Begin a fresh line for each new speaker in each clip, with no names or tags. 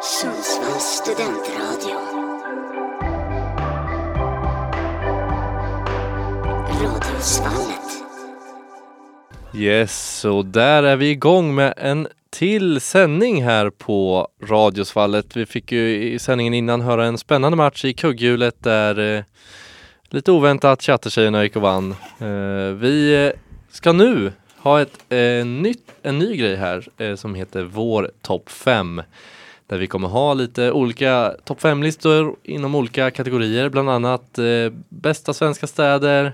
Sundsvalls studentradio. Radiosvallet.
Yes, och där är vi igång med en till sändning här på Radiosvallet. Vi fick ju i sändningen innan höra en spännande match i kugghjulet där eh, lite oväntat Chattertjejerna gick och vann. Eh, vi eh, ska nu ha ett, eh, nytt, en ny grej här eh, som heter Vår topp 5. Där vi kommer ha lite olika topp 5-listor inom olika kategorier, bland annat eh, bästa svenska städer,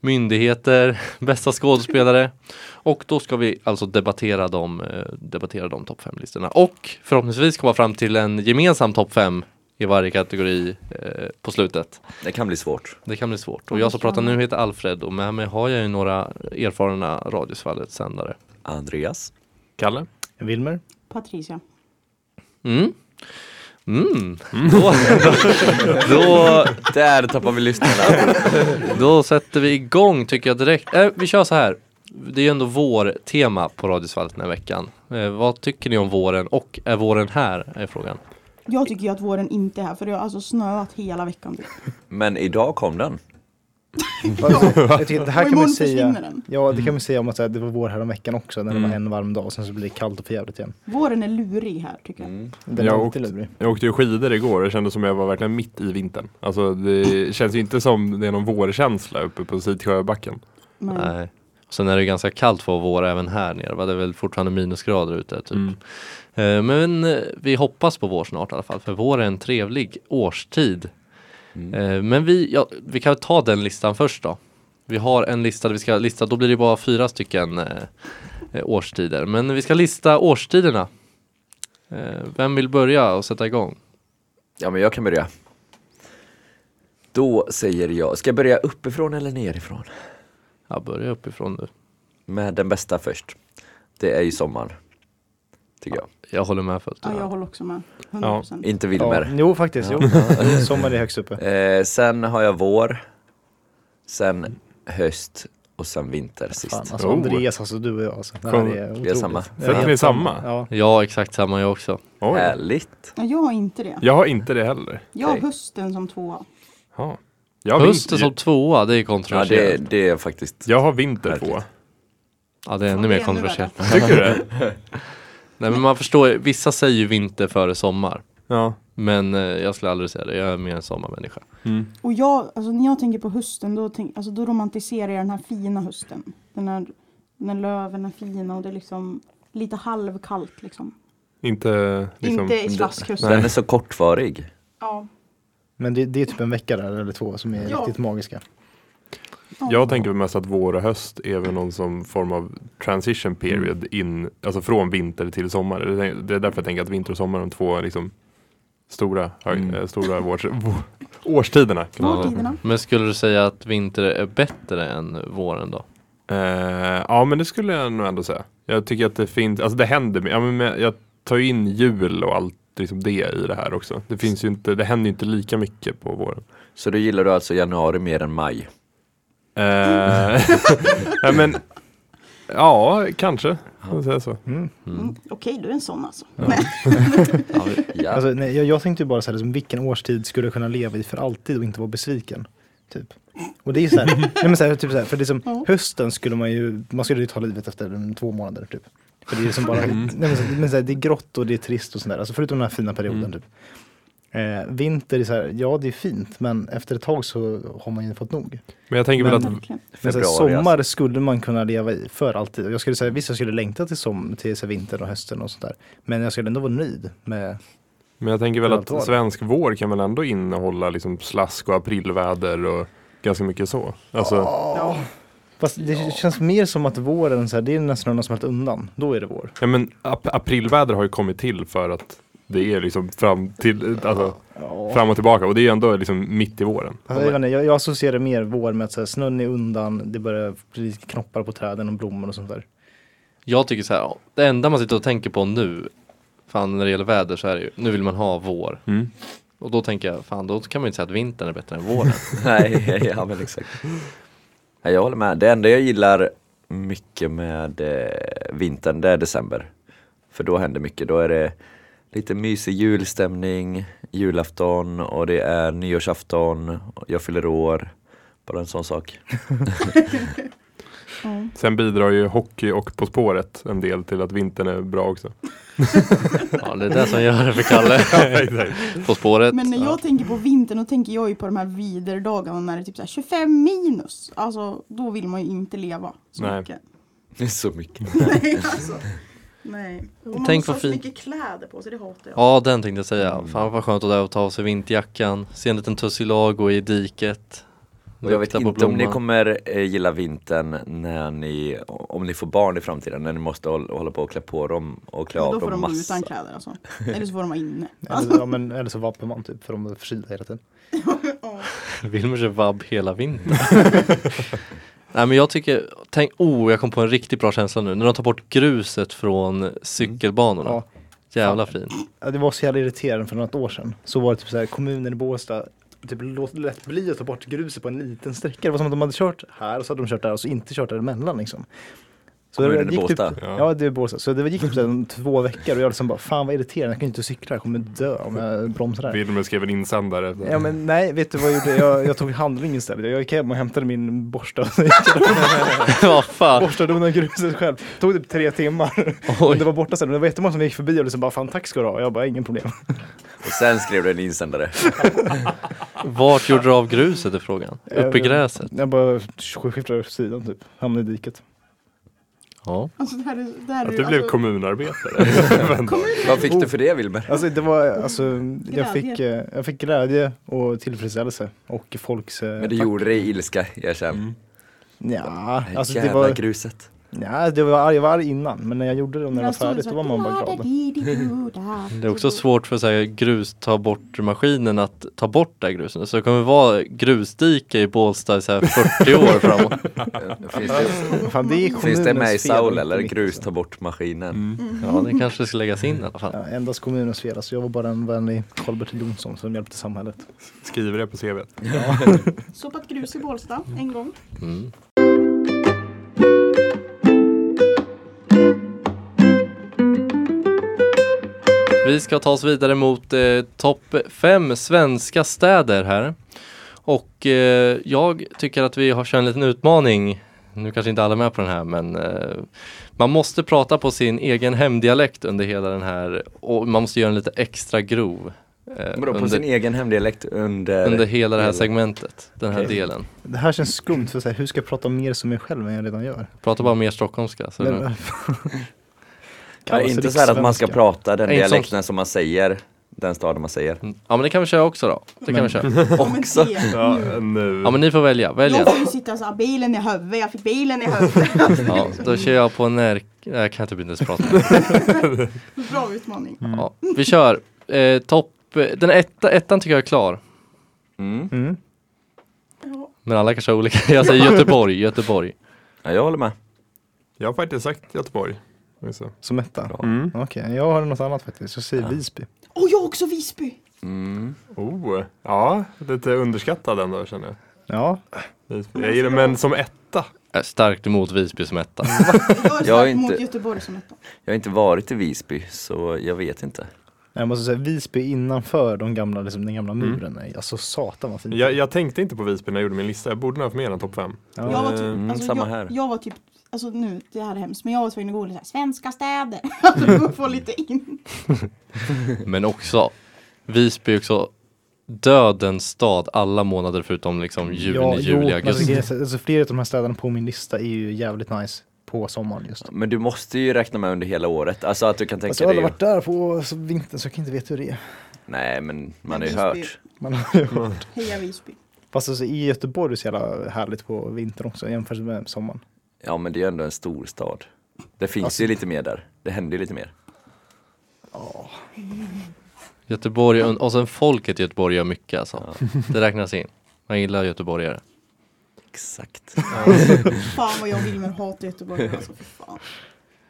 myndigheter, bästa skådespelare. Och då ska vi alltså debattera de, eh, debattera de topp 5-listorna och förhoppningsvis komma fram till en gemensam topp 5 i varje kategori eh, på slutet.
Det kan bli svårt.
Det kan bli svårt. Och jag som pratar nu heter Alfred och med mig har jag ju några erfarna Radiosvallet-sändare.
Andreas?
Kalle?
Wilmer?
Patricia.
Mm. Mm. Då, då,
Där tappar vi lyssnarna.
då sätter vi igång tycker jag direkt. Eh, vi kör så här. Det är ju ändå vår-tema på Radiosvallet den här veckan. Eh, vad tycker ni om våren och är våren här? Är frågan.
Jag tycker ju att våren inte är här för det har alltså snöat hela veckan typ.
Men idag kom den.
Jag tycker, det här
Och
kan man
imorgon
säga,
försvinner den.
ja, det kan man säga om att så här, det var vår häromveckan också när det var en varm dag och sen så blir det kallt och förjävligt igen.
Våren är lurig här tycker jag.
Den
Jag
är
har
alltid
åkt.
lurig.
Jag åkte ju skidor igår och kände som jag var verkligen mitt i vintern. Alltså det känns ju inte som det är någon vårkänsla uppe på Sidsjöbacken.
Men
Nej. Och sen är det ju ganska kallt för vår även här nere. va? Det är väl fortfarande minusgrader ute. Typ.
Mm.
Eh, Men eh, vi hoppas på vår snart i alla fall. För vår är en trevlig årstid.
Mm.
Eh, Men vi, ja, vi kan ta den listan först då. Vi har en lista där vi ska lista. Då blir det bara fyra stycken eh, eh, årstider. Men vi ska lista årstiderna. Eh, Vem vill börja och sätta igång?
Ja, men jag kan börja. Då säger jag, ska jag börja uppifrån eller nerifrån?
Ja, börja uppifrån nu.
Med den bästa först. Det är ju sommar. Tycker jag.
Jag håller med fullt.
ja, jag håller också med. 100%.
Inte
Ja,
Wilmer.
jo faktiskt, jo. Sommar är högst uppe.
Eh, sen har jag vår. Sen höst. Och sen vinter sist.
Fan, alltså
Oh.
Andreas, alltså du och jag alltså. Det
Kom,
här är
Vi är
otroligt.
samma.
Sätter ni samma?
Ja.
Ja, exakt samma jag också.
Oj.
Härligt.
Ja, jag har inte det.
Jag har inte det heller.
Jag har
okej.
hösten som tvåa.
Ja. Jag, har
Hösten som
vinter,
tvåa, det är
Ja,
kontroversiellt.
det, det är faktiskt.
jag har vinter
Härligt.
två.
Ja det är ännu
det är
mer
ännu
kontroversiellt.
Tycker du det?
Nej men man förstår ju, vissa säger ju vinter före sommar.
Ja.
Men eh, jag skulle aldrig säga det, jag är mer en sommarmänniska.
Och jag, alltså när jag tänker på hösten då, tänk, alltså, då romantiserar jag den här fina hösten. Den här, när löven är fina och det är liksom lite halvkallt liksom.
Inte liksom.
inte i slaskhösten.
Den är så kortvarig.
Ja.
Men det, det är typ en vecka där eller två som är
Ja.
riktigt magiska.
Jag tänker mest att vår och höst är väl någon som form av transition period in, alltså från vinter till sommar. Det är- Det är därför jag tänker att vinter och sommar är de två liksom stora, hög, eh, stora vårs, vå- årstiderna. Kan man säga.
Årstiderna.
Men skulle du säga att vinter är bättre än våren då?
Eh, ja men det skulle jag nog ändå säga. Jag tycker att det finns, alltså det händer, mer. ja, men med- jag tar ju in jul och allt liksom det i det här också. Det finns ju inte, det händer ju inte lika mycket på våren.
Så då gillar du alltså januari mer än maj?
Eh, ja, men, ja kanske, kan man säga så.
Mm. Okej, du är en sån alltså.
Ja.
Alltså, nej, jag, jag tänkte ju bara så här, liksom, vilken årstid skulle jag kunna leva i för alltid och inte vara besviken? Typ. Och det är ju så här, nej, men så här, typ så här för det är som, hösten skulle man ju, man skulle ju ta livet efter mm, två månader typ. För det är liksom bara,
Mm.
nej, men så, men så här, det är grått och det är trist och sådär, alltså förutom den här fina perioden
Mm.
typ. Eh, vinter är så här, ja det är fint men efter ett tag så har man ju fått nog.
Men jag tänker väl att
Verkligen.
Men så här,
Februari, alltså.
sommar skulle man kunna leva i för alltid. Och Jag skulle säga, visst jag skulle längta till, som, till så här, vintern och hösten och sånt där. Men jag skulle ändå vara nöjd med
Men jag tänker väl
Hur allt var det?
att svensk vår kan väl ändå innehålla liksom slask och aprilväder och ganska mycket så. Alltså,
Fast det känns mer som att våren, så här, det är när snön har smält undan, då är det vår.
ja, men ap aprilväder har ju kommit till för att det är liksom fram, till, alltså, fram och tillbaka och det är ju ändå liksom mitt i våren.
Alltså, jag, vet inte, jag, jag associerar mer vår med att så här, snön är undan, det börjar bli knoppar på träden och blommor och sånt där.
Jag tycker så här, det enda man sitter och tänker på nu, fan när det gäller väder så är det ju, nu vill man ha vår.
Mm.
Och då tänker jag, fan då kan man ju inte säga att vintern är bättre än våren.
Nej, ja men exakt. Nej, jag håller med. Det enda jag gillar mycket med eh, vintern, det är december. För då händer mycket. Då är det lite mysig julstämning, julafton och det är nyårsafton, och jag fyller år. Bara en sån sak.
Mm.
Sen bidrar ju hockey och På spåret en del till att vintern är bra också.
Ja, det är det som gör det för Kalle. På spåret.
Men när
ja.
jag tänker på vintern, då tänker jag ju på de här viderdagarna när det är typ så här 25 minus. Alltså, då vill man ju inte leva så
Nej.
mycket.
Det är så mycket.
Nej, alltså. Nej. Och man
Tänk
måste
vad
ha så
fint.
mycket kläder på sig, det hatar jag.
ja, den tänkte jag
Mm.
säga. Fan vad skönt att det är att ta av sig vinterjackan, se en liten tussilag gå i diket.
Och jag vet
lukta på
inte om ni
blomman.
kommer eh, gilla vintern när ni, om ni får barn i framtiden, när ni måste håll- hålla på och klä på dem och klä
Men
av
då får
dem
de gå
massa.
utan kläder alltså. Eller så får de vara inne.
Eller, ja, men, eller så vapnar man typ för de är förkylda hela tiden.
Wilmer kör vabb hela vintern. Nej men jag tycker, tänk, oh jag kom på en riktigt bra känsla nu, när de tar bort gruset från cykelbanorna.
Ja.
Jävla fin.
Ja, Det var så jävla irriterande för något år sedan. Så var det typ så här, kommunen i Båstad typ låt, lät bli att ta bort gruset på en liten sträcka. Det var som att de hade kört här och så hade de kört där och så inte kört däremellan liksom. Så
Kommunen i
gick typ,
Båstad?
ja. det är Båstad. Så det gick typ så här, om två veckor och jag liksom bara, fan vad irriterande, jag kan ju inte cykla, jag kommer dö om jag bromsar här.
Wilmer skrev en insändare.
Ja men nej, vet du vad jag gjorde? Jag, jag tog handling istället. Jag gick hem och hämtade min borste och så gick jag
Vad fan.
borstade undan gruset själv. Tog typ tre timmar.
Oj.
Det var borta sen. Det var jättemånga som gick förbi och liksom bara, fan tack ska du ha. Och jag bara, ingen problem.
Och sen skrev du en insändare.
Vart gjorde du av gruset är frågan?
Jag
Upp i
vet-
gräset?
Jag bara skiftade åt sidan typ, hamnade i diket.
Ja.
Alltså det här är, det här är
Att
ju,
du blev
alltså,
kommunarbetare.
Vad fick du för det Wilmer?
Alltså det var, alltså
Glädje.
jag fick, eh, jag fick glädje och tillfredsställelse och folks... eh,
Men det
tack.
gjorde dig ilska, erkänn.
Nja,
Det
alltså det
jävla
var,
gruset.
nja, det var, arg- jag var arg innan men när jag gjorde det och när det var
jag står
färdigt
så
då
här,
var man bara glad.
"Da-di-di-do-da."
Det är också svårt för så här, grus ta bort maskinen att ta bort det här gruset. Så det kommer vara grusdike i Bålsta i så här 40 år framåt.
Finns det,
Fan, det är
finns det med i
kommunens fel,
Saul
inte
eller
mitt,
grus
alltså.
ta bort maskinen?
Ja det kanske ska läggas in i alla fall.
Ja, endast kommunens fel, alltså jag var bara en vänlig Karl-Bertil Jonsson som hjälpte samhället.
Skriver det på CV.
Sopat grus i Bålsta en gång.
Mm. Vi ska ta oss vidare mot eh, topp fem svenska städer här. Och eh, jag tycker att vi har kört en liten utmaning. Nu kanske inte alla är med på den här men eh, man måste prata på sin egen hemdialekt under hela den här och man måste göra den lite extra grov. eh,
Vadå, på
under,
sin egen hemdialekt under...
under hela det här
hela-
segmentet, den här
Okej.
delen.
Det här känns skumt för så här, hur ska jag prata mer som mig själv än jag redan gör?
Mm.
Prata bara mer stockholmska. Så är det
Men-
lugnt.
Ja,
Kallas
inte så här att man ska
rikssvenska.
prata den
Nej, inte
dialekten som man säger, den staden man säger.
Ja men det kan vi köra också då. Det kan vi köra.
Också?
Ja,
eh,
nu.
Ja men ni får välja, välj en.
Jag får ju sitta såhär, bilen i huvudet, jag fick bilen i huvudet.
Ja, då kör jag på när... Nej, Jag kan typ inte ens prata. om det.
Bra utmaning.
Ja, vi kör. Eh, topp... Den etta, ettan tycker jag är klar.
Mm.
Mm.
Ja.
Men alla kanske har olika. Jag säger Göteborg, Göteborg.
Ja, jag håller med.
Jag har faktiskt sagt Göteborg. Alltså.
Som etta?
Bra.
Mm.
Okej, jag har något annat faktiskt. Jag säger Visby.
Och jag också Visby!
Mm.
Oh, ja, lite underskattad ändå känner jag.
Ja,
Jag gillar men som etta.
Jag är starkt emot Visby som etta.
Jag är
Jag har
starkt mot
inte-
Göteborg som etta.
Jag har inte varit i Visby, så jag vet inte.
jag måste säga Visby innanför de gamla, liksom, den gamla muren. Mm. Alltså satan vad fint.
Jag, jag tänkte inte på Visby när jag gjorde min lista. Jag borde nog ha haft med den topp fem.
Ja.
Jag var typ,
Mm,
alltså,
samma
jag,
här.
jag var typ, alltså nu, det här är hemskt, men jag var tvungen att gå lite såhär, svenska städer. Alltså för att få lite in.
Men också, Visby är också dödens stad alla månader förutom liksom juni, juli,
men alltså,
augusti.
grejen är så- alltså, flera av de här städerna på min lista är ju jävligt nice på sommaren just.
Men du måste ju räkna med under hela året, alltså att du kan tänka
Alltså, jag har
dig...
aldrig varit där på så, vintern så jag kan inte veta hur det är.
Nej, men man har ju
Men Visby-
hört.
Man har ju
Mm.
hört.
Heja Visby.
Fast alltså, i Göteborg är det så jävla härligt på vintern också jämfört med sommaren.
Ja, men det är ju ändå en stor stad. Det finns
Alltså-
ju lite mer där. Det händer ju lite mer.
Göteborg, och sen folket i Göteborg gör mycket alltså. Det räknas in. Man gillar göteborgare.
Exakt.
Fan vad jag vill men hatar Göteborg alltså, för fan.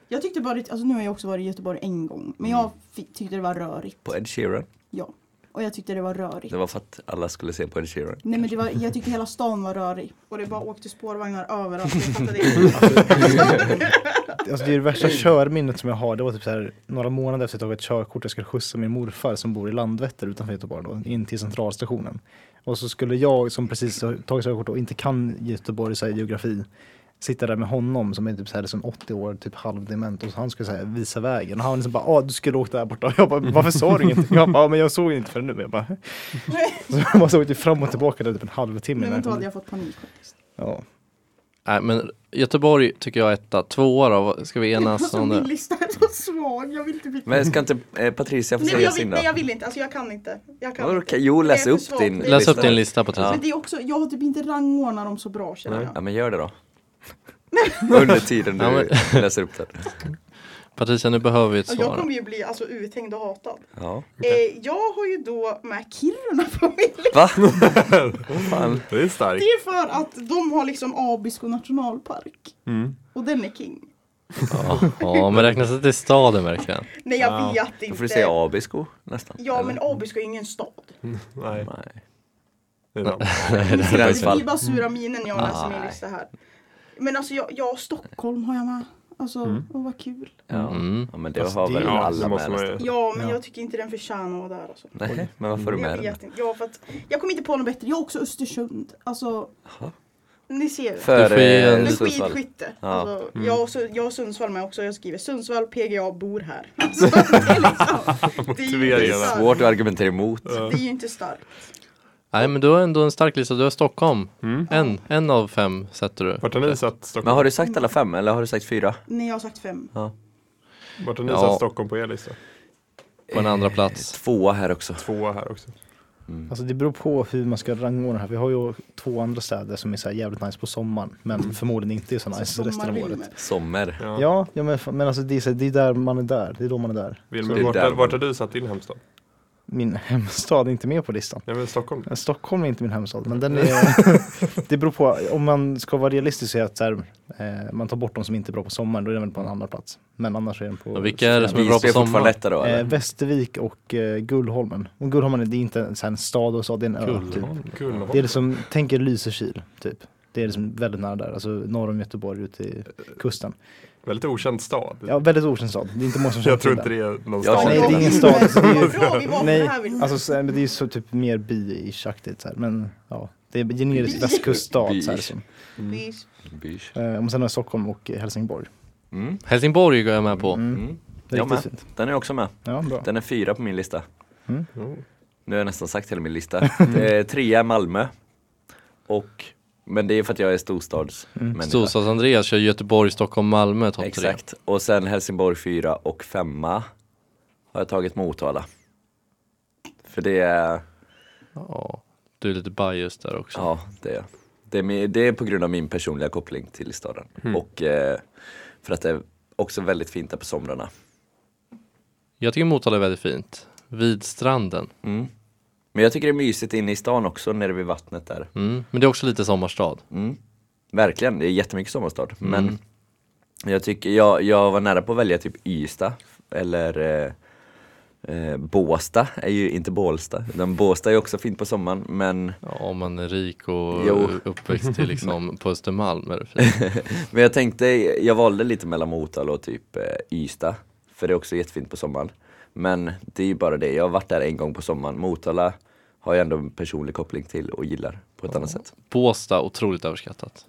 Jag tyckte
Mm.
bara, det- alltså nu har jag också varit i Göteborg en gång, men jag fi- tyckte det var rörigt.
På Ed Sheeran.
Ja. Och jag tyckte det var rörigt.
Det var för att alla skulle se på Ed Sheeran.
Nej men det var, jag tyckte hela stan var rörig. Och det bara åkte spårvagnar överallt. Jag fattade inte.
Alltså det, är det värsta körminnet som jag har, det var typ så här, några månader efter att jag tagit körkort, jag skulle skjutsa min morfar som bor i Landvetter utanför Göteborg då, in till centralstationen. Och så skulle jag som precis har tagit körkort och inte kan Göteborg så här, geografi, sitta där med honom som är typ så här, som 80 år, typ halvdement och så han skulle så här, visa vägen. Och han liksom bara, ah, du skulle åka där borta. Och jag bara, varför sa du inget? Jag bara, ah, men jag såg inte förrän nu. Jag bara, så jag bara såg typ fram och tillbaka där typ en halvtimme.
Nej
innan
men
jag
då
kom
hade
dit.
jag fått panik faktiskt.
Ja.
Nej, men Göteborg tycker jag är etta. Tvåa då, ska vi enas
Alltså
om
min
det?
lista är så svag. Jag vill inte byta.
Men ska inte eh, Patricia få
Nej, men
säga
jag vill,
sin då?
nej jag vill inte, alltså jag kan inte. Jag kan
Vadå,
inte.
kan- jo,
Det
läs
är
upp
för svagt.
din
Det är
Läs
för
upp din
svagt.
lista Patricia.
Ja.
Men det är också, jag har typ inte rangordnat dem så bra känner
Ja
jag.
men gör det då. Under tiden du
Ja, men-
läser upp den.
Patricia, nu behöver vi ett
Och Jag
svar.
kommer ju bli alltså uthängd och hatad.
Ja.
Eh, jag har ju då med Kiruna på min lista.
Va?
Det är starkt.
Det är för att de har liksom Abisko nationalpark.
Mm.
Och den är king.
Ja, men räknas det till staden verkligen?
Nej jag vet
Ah, Då
inte.
får du säga Abisko nästan.
Ja
eller?
men Abisko är ingen stad.
Nej,
Nej.
det är sant.
Det
Gränsfall.
blir bara sura minen när jag läser min
Nej.
lista här. Men alltså jag, jag Stockholm har jag med. Alltså,
Mm.
åh, vad kul.
Ja.
Mm.
ja men det
Fast
har
det-
väl
Ja,
det
alla med
måste man
nästan.
ju-
Ja men
Ja.
jag tycker inte den förtjänar att vara där alltså.
Nej men varför är du
Jag
med den?
vet inte. Ja, för att, jag kommer inte på något bättre. Jag har också Östersund. Alltså, ni ser. För,
Du får
Före
ge en-
eh,
men
Sundsvall.
skidskytte.
Ja. Mm.
Alltså, jag, har Sund- jag har Sundsvall med också. Jag skriver Sundsvall, PGA, bor här. Alltså, det, är liksom, det, är ju
Motiveringarna.
inte
Det är
starkt.
svårt att argumentera emot.
det är ju inte starkt.
Nej, men du har ändå en stark lista. Du har Stockholm. En, en av fem sätter du.
Mm. Vart har ni satt
Men
Stockholm,
har du sagt alla fem eller har du sagt fyra?
Nej, jag har sagt fem.
Vart har ni
Ja.
satt Stockholm på er lista?
På en andra plats.
Tvåa här också.
Tvåa här också.
Alltså det beror på hur man ska rangordna här. Vi har ju två andra städer som är så här jävligt nice på sommaren, men förmodligen inte är så nice
Alltså,
resten av året.
Sommarviner.
Sommer.
Ja.
Ja, ja men, f- men alltså det är, så här, det är där man är där. Det är då man är där.
Det
Wilmer,
är
vart,
där.
har- vart har du satt din hemstad?
Min hemstad är inte med på listan.
Nej men Stockholm.
Men Stockholm är inte min hemstad, men den är... det beror på, om man ska vara realistisk så är att så här, eh, man tar bort de som inte är bra på sommaren, då är den väl på en andra plats. Men annars är den på...
Och vilka är det som är bra
Visby
på
är fortfarande
sommaren?
detta då
Eh,
eller?
Västervik och eh, Gullholmen. Och Gullholmen är- det är inte en, så här, en stad och så, det är en ö. Typ. Det är
Gullholm.
liksom, tänk er Lysekil, typ. Det är liksom väldigt nära där, alltså norr om Göteborg ute i kusten.
Väldigt okänd stad.
Ja, väldigt okänd stad. Det är inte många som känner
Jag tror
till
inte det är någon
Jag
stad.
Nej, det är
Ja,
ingen stad. Alltså, det är ju,
Bra, vi var på det
nej,
här vill
alltså så, men det är ju så typ mer bi-ish-aktigt så här. Men ja, det är en generisk
Bi.
västkuststad så här.
Bi.
Som.
Visst.
Bysch.
Eh, och sen har jag Stockholm och eh, Helsingborg.
Mm.
Helsingborg går jag med på.
Mm.
Det är
Jag
riktigt
med.
fint.
Den är också med.
Ja, bra.
Den är fyra på min lista.
Jo.
Nu har jag nästan sagt hela min lista. Det är trea är Malmö. Och, men det är för att jag är storstadsmänniska.
Storstads-Andreas kör Göteborg, Stockholm, Malmö topp tre.
Exakt. Och sen Helsingborg fyra och femma har jag tagit Motala. För det är,
Ja, du är lite biased där också.
ja det är, det är, mi- det är på grund av min personliga koppling till staden. Och eh, för att det är också väldigt fint där på somrarna.
Jag tycker Motala är väldigt fint. Vid stranden.
Mm. Men jag tycker det är mysigt inne i stan också nere vid vattnet där.
Mm. Men det är också lite sommarstad.
Mm. Verkligen, det är jättemycket sommarstad. Men jag, tycker, jag, jag var nära på att välja typ Ystad eller eh, eh, Båsta är ju inte Bålsta, utan Båsta är också fint på sommaren men,
Ja, om man är rik och
Jo.
uppväxt till liksom på Östermalm är det fint.
men jag tänkte, jag valde lite mellan Motala och typ eh, Ystad för det är också jättefint på sommaren. Men det är ju bara det, jag har varit där en gång på sommaren. Motala har jag ändå en personlig koppling till och gillar på ett annat sätt.
Båstad, otroligt överskattat.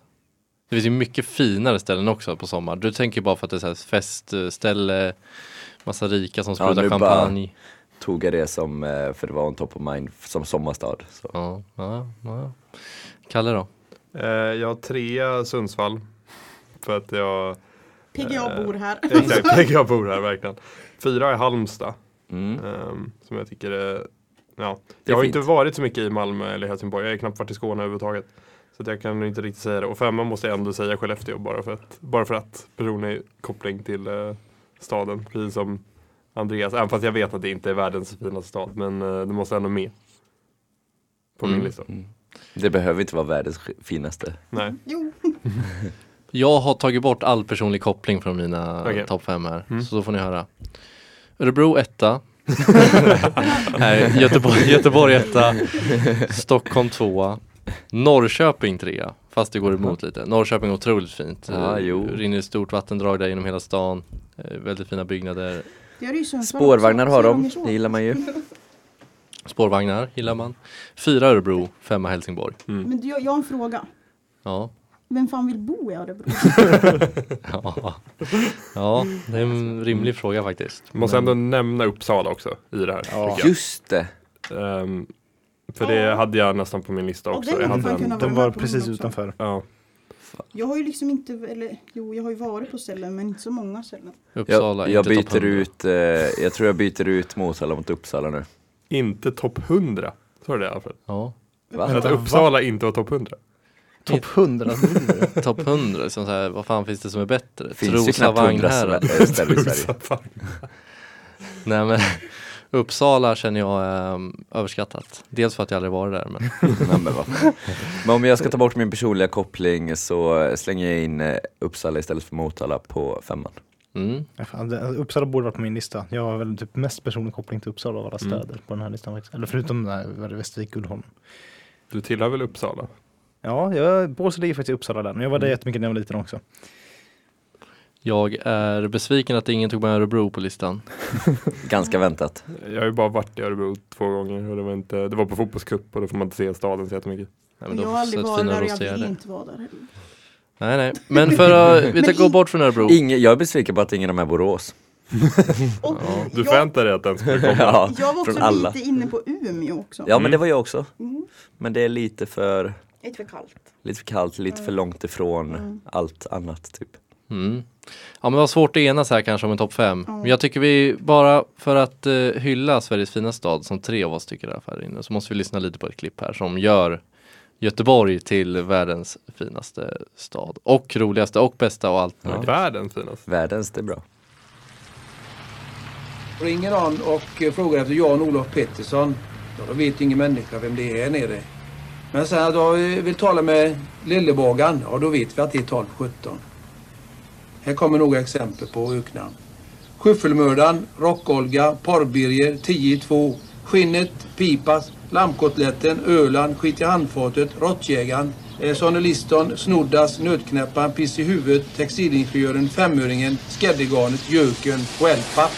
Det finns ju mycket finare ställen också på sommar. Du tänker bara för att det är så här festställe, massa rika som
Ja,
sprutar
nu bara-
champagne.
Tog jag det som, eh, för det var en top of mind, som sommarstad. Så.
Ja, ja, ja. Kalle då?
Eh, jag har trea Sundsvall. För att
Mm.
jag,
mm.
PGA bor här.
exakt, jag bor här verkligen. Fyra är Halmstad.
Mm.
ehm, som jag tycker är, ja.
Det är
Jag har
fint.
inte varit så mycket i Malmö eller Helsingborg. Jag har knappt varit i Skåne överhuvudtaget. Så att jag kan inte riktigt säga det. Och femma måste jag ändå säga Skellefteå bara för att, bara för att personlig koppling till eh, staden. Precis som Andreas, även fast jag vet att det inte är världens finaste stad. Men eh, det måste ändå med. På min
Mm.
lista.
Det behöver inte vara världens finaste.
Nej.
Jo,
Jag har tagit bort all personlig koppling från mina
Okej.
Mm.
topp fem här, så då får ni höra. Örebro etta, Nej, Göteborg, Göteborg etta, Stockholm tvåa, Norrköping trea, fast det går emot lite. Norrköping är otroligt fint.
Ja,
Eh,
jo.
Rinner ett stort vattendrag där genom hela stan. Eh, Väldigt fina byggnader.
Det gör det ju Sundsvall också.
Spårvagnar har
Tre
de,
gånger så.
det gillar man ju.
Spårvagnar gillar man. Fyra Örebro, femma Helsingborg.
Mm.
Mm.
Men du, jag jag har en fråga.
Ja,
Vem fan vill bo i Örebro?
ja. ja det är en rimlig fråga faktiskt.
Mm.
Måste ändå nämna Uppsala också i det här. tycker jag.
Just det!
Ehm, för det hade jag nästan på min lista
Ja,
också.
den
Jag
hade
hade
man
den.
kunnat-
Mm. De var
Varmland på
precis
Mölndal också.
utanför.
Ja.
Jag har ju liksom inte, eller jo, jag har ju varit på ställen, men inte så många ställen.
Uppsala,
Jag, jag
inte topp
byter
100.
ut, eh, jag tror jag byter ut Motala mot Uppsala nu.
Inte topp 100. Så är det i alla fall.
Ja.
Va?
Att Alltså, Uppsala inte var topp 100.
Topp 100.
Topp 100, som så här, vad fan finns det som är bättre?
Finns ju knappt hundra
Vagnhärad.
som är- ställen i Sverige.
Nej men Uppsala känner jag är överskattat. Dels för att jag aldrig varit där men
Nej, men, vad fan. men om jag ska ta bort min personliga koppling så slänger jag in eh, Uppsala istället för Motala på femman.
mm.
Ja, fan, det- alltså, Uppsala borde varit på min lista. Jag har väl typ mest personlig koppling till Uppsala av alla städer på den här listan. faktiskt. Eller förutom den här, vad är det, Västervik Guldholm.
Du tillhör väl Uppsala?
Ja, jag, Bålsta ligger faktiskt i Uppsala där. Men jag var där jättemycket när jag var liten också.
Jag är besviken att ingen tog med Örebro på listan. Mm.
Ganska väntat.
Jag har ju bara varit i Örebro två gånger och det var, inte, det var på fotbollscup och då får man inte se staden så jättemycket.
Nej,
Och
de
jag
får
har aldrig
sätta
varit
fina
där och jag
rostiga
vill
där.
inte vara där heller.
Nej nej, men för att vi tar
Men
gå
in-
bort från Örebro.
Ingen, jag är besviken på att ingen av dem är Borås.
Och
Du
jag,
förväntar dig att den skulle komma.
ja,
jag var också
från alla.
lite inne på Umeå också.
Ja men det var jag också.
Mm.
Men det är lite för,
Lite för kallt.
lite för kallt, lite för långt ifrån allt annat typ.
Mm. Ja men det var svårt att enas här kanske om en topp fem. Men jag tycker vi, bara för att eh, hylla Sveriges fina stad som tre av oss tycker i alla fall här inne, så måste vi lyssna lite på ett klipp här som gör Göteborg till världens finaste stad. Och roligaste och bästa och allt möjligt.
Världens finaste.
Världens, det är bra.
Ringer någon och eh, frågar efter Jan-Olof Pettersson, ja, då vet ingen människa vem det är nere. Men sen att jag eh, vill tala med Lillebågan, ja då vet vi att det är 1217. Här kommer några exempel på öknamn. Skyffelmördaren, Rock-Olga, Porrbirger, 10 i 2, Skinnet, Pipas, Lammkotletten, Öland, Skit i handfatet, Råttjägaren, eh, Sonny Liston, Snoddas, Nötknäpparen, Piss i huvudet, Textilingenjören, Femöringen, Skäddegarnet, Jöken och Elfap.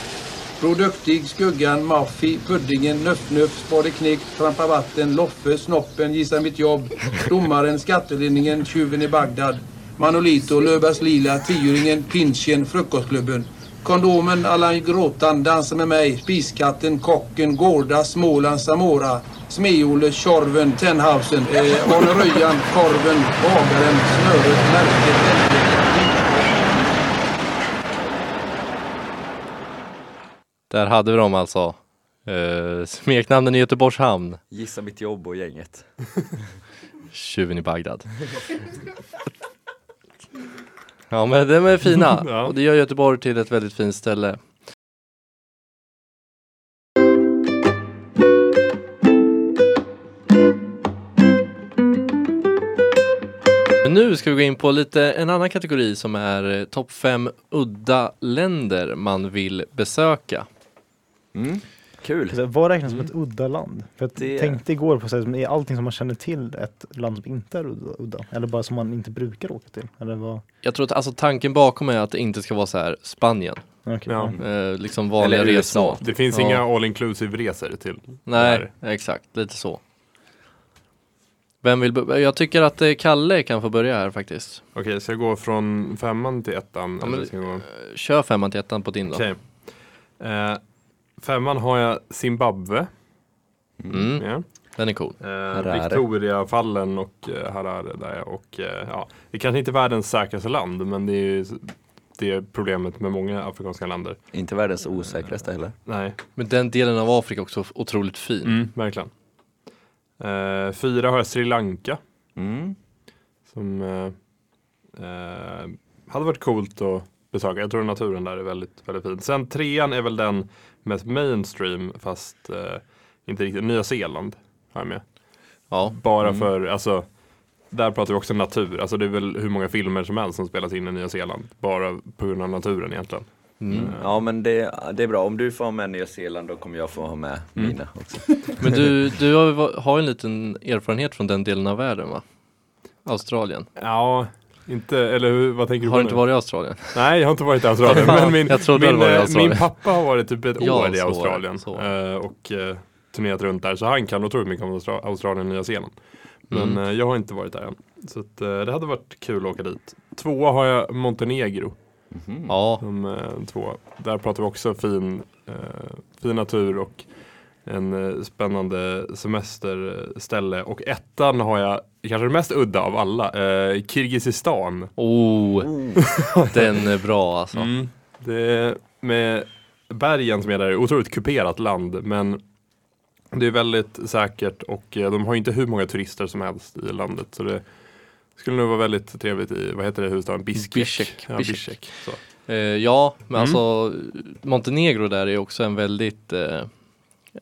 Bror Duktig, Skuggan, Maffi, Puddingen, Nöff-Nöff, Spade Knick, Trampa Vatten, Loffe, Snoppen, Gissa Mitt Jobb, Domaren, Skattelindringen, Tjuven i Bagdad, Manolito, Löfbergs Lila, Tioringen, Pinchen, Frukostklubben, Kondomen, Allan Gråtan, Dansa med mig, Spiskatten, Kocken, Gårda, Småland, Samora, Smeole, Tjorven, Tenhausen, eh, Arne Röjan, Korven, Bagaren, Snöret, Märket, Älgen,
Där hade vi dem alltså. Eh, smeknamnen i Göteborgs hamn.
Gissa mitt jobb och gänget.
Tjuven i Bagdad. ja men de är fina
Ja.
och det gör Göteborg till ett väldigt fint ställe. Men Nu ska vi gå in på lite en annan kategori som är eh, topp fem udda länder man vill besöka.
Mm. Kul.
Så här, Vad räknas som ett udda land? För att
Det-
jag tänkte igår på så här, som är allting som man känner till ett land som inte är udda, udda? Eller bara som man inte brukar åka till? Eller vad?
Jag tror att alltså, tanken bakom är att det inte ska vara så här Spanien,
Okej,
Ja.
ja.
eh, liksom vanliga
Eller
resor.
USA.
Det finns
Ja.
inga all inclusive resor till
Nej, exakt. Lite så. Vem vill bör- Jag tycker att eh, Kalle kan få börja här faktiskt.
Okej, ska jag gå från femman till ettan?
Ja,
eller
men-
ska jag gå...
Eh, Kör femman till ettan på din då.
Okej. Eh, femman har jag Zimbabwe.
Mm,
Ja.
den är cool.
Eh, Victoriafallen och eh, Harare där. Och, eh, ja. Det kanske inte är världens säkraste land, men det är ju s- det är problemet med många afrikanska länder.
Inte världens osäkraste heller.
Nej,
Men den delen av Afrika är också f- otroligt fin.
Mm. verkligen. Eh, fyra har jag Sri Lanka.
Mm.
Som eh, eh, hade varit coolt att besöka. Jag tror naturen där är väldigt, väldigt fin. Sen trean är väl den mest mainstream fast eh, inte riktigt. Nya Zeeland har jag med.
Ja,
Bara för, alltså där pratar vi också natur. Alltså det är väl hur många filmer som helst som spelas in i Nya Zeeland. Bara på grund av naturen egentligen.
Mm. Ja men det, det är bra, om du får ha med Nya Zeeland då kommer jag få ha med mina också.
Men du, du har, ju- har ju en liten erfarenhet från den delen av världen va? Australien.
Ja, inte, eller hur, vad tänker du
Har
på
du inte
nu?
varit i Australien?
Nej, jag har inte varit i Australien.
Fan,
men min,
jag trodde
min,
du var i
eh,
Australien.
min pappa har varit typ ett
Ja,
år i
så,
Australien
så.
eh, och eh, turnerat runt där. Så han kan otroligt mycket om Austra- Australien och Nya Zeeland. Men
Mm.
eh, jag har inte varit där än. Så att, eh, det hade varit kul att åka dit. Tvåa har jag Montenegro. Mm.
Ja,
De eh, två. Där pratar vi också fin, eh, fin natur och en eh, spännande semesterställe. Och ettan har jag, kanske det mest udda av alla, eh, Kirgizistan.
oh, den är bra alltså.
Mm. Det är med bergen som är där, otroligt kuperat land men det är väldigt säkert och eh, de har inte hur många turister som helst i landet. Så det skulle nog vara väldigt trevligt i, vad heter det, huvudstaden? Bishkek.
Bishkek,
Ja,
Bishkek.
Bishkek. Så.
Eh, ja, men
Mm.
alltså Montenegro där är också en väldigt eh,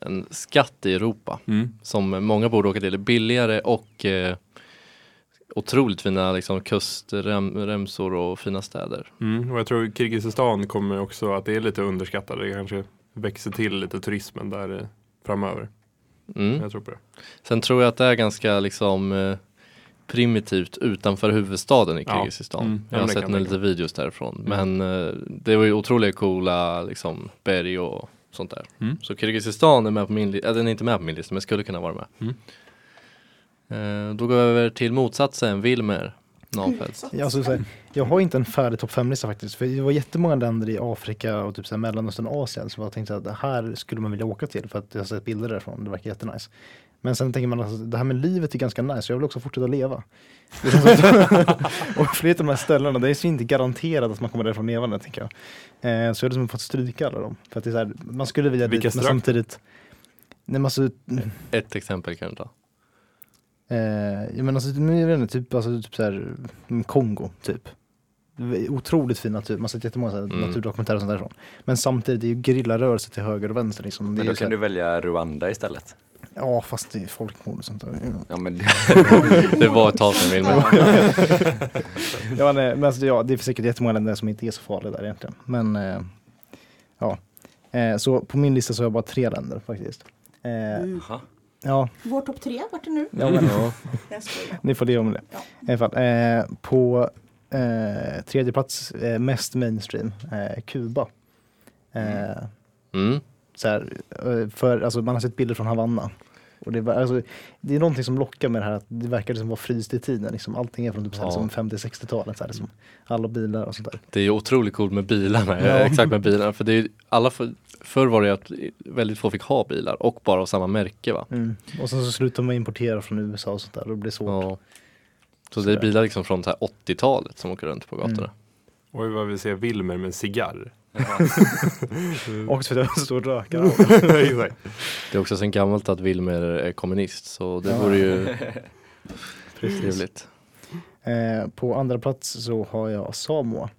en skatt i Europa som många borde åka till. Det är billigare och eh, otroligt fina liksom, kustremsor och fina städer.
Mm, och jag tror Kirgizistan kommer också att det är lite underskattat. Det kanske växer till lite turismen där eh, framöver.
Mm.
Jag tror på det.
Sen tror jag att det är ganska liksom eh, primitivt utanför huvudstaden i
Ja.
Kirgizistan.
Mm. Ja,
Jag har
men det
sett
kan
några
jag Mm.
lite videos därifrån. Men eh, det var ju otroligt coola liksom, berg och sånt där.
Mm.
Så Kirgizistan är med på min lista, den är inte med på min lista men skulle kunna vara med.
Mm.
Eh, då går vi över till motsatsen, Wilmer Nafeldt.
Ja, alltså, så här, jag har inte en färdig topp 5-lista faktiskt. För det var jättemånga länder i Afrika och typ så här, Mellanöstern och Asien som jag tänkte att det här skulle man vilja åka till för att jag har sett bilder därifrån. Det verkar jättenice. Men sen tänker man att alltså, det här med livet är ganska nice så jag vill också fortsätta leva. Det känns som att- och flera av de här ställena, det är så inte garanterat att man kommer därifrån levande tänker jag. Eh, så jag har liksom fått stryka alla dem. För att det är så här, man skulle vilja
Vilka
dit men
strök?
samtidigt Nej, men alltså,
Ett exempel kan du ta.
Eh, jag menar, alltså, men jag vet inte, typ, alltså, typ så här, mm, Kongo, typ. Otroligt fin natur, man har sett jättemånga så
Mm.
här, naturdokumentärer och sånt därifrån. Men samtidigt, det är ju gerillarörelser till höger och vänster liksom. Det är
Men då
ju så
kan
här,
du välja Rwanda istället.
Ja, fast det är folkmord och sånt där.
Ja, men
Det var ett tag sedan Wilmer.
Ja, nej, men alltså, ja, det är säkert jättemånga länder som inte är så farliga där egentligen. Men eh, ja, eh, så på min lista så har jag bara tre länder faktiskt. Eh,
Jaha.
ja,
Vår topp tre, vart är nu?
ja, men,
Jag skojar.
Ni får leva med det.
Ja.
I alla fall, eh, på eh, tredje plats, eh, mest mainstream, eh, Kuba. Eh,
Mm.
så här, eh, för, alltså, man har sett bilder från Havanna. Och det, är bara- alltså, det är någonting som lockar med det här att det verkar liksom vara fryst i tiden. Liksom. Allting är från typ, så här,
Ja.
liksom 50-60-talet. Så här, liksom. Alla bilar och sånt där.
Det är ju otroligt coolt med bilarna,
Ja.
exakt med bilarna. För det är ju alla för, förr var det ju att väldigt få fick ha bilar och bara av samma märke va.
Mm. Och sen så slutar man importera från USA och sånt där. Och det blir svårt.
Ja. Så det är bilar liksom från så här 80-talet som åker runt på gatorna.
Oj vad vi ser Wilmer med en cigarr.
Och för att jag är en stor rökare.
Exakt.
Det är också sen gammalt att Wilmer är kommunist så det vore ju trevligt.
Eh, på andra plats så har jag Samoa.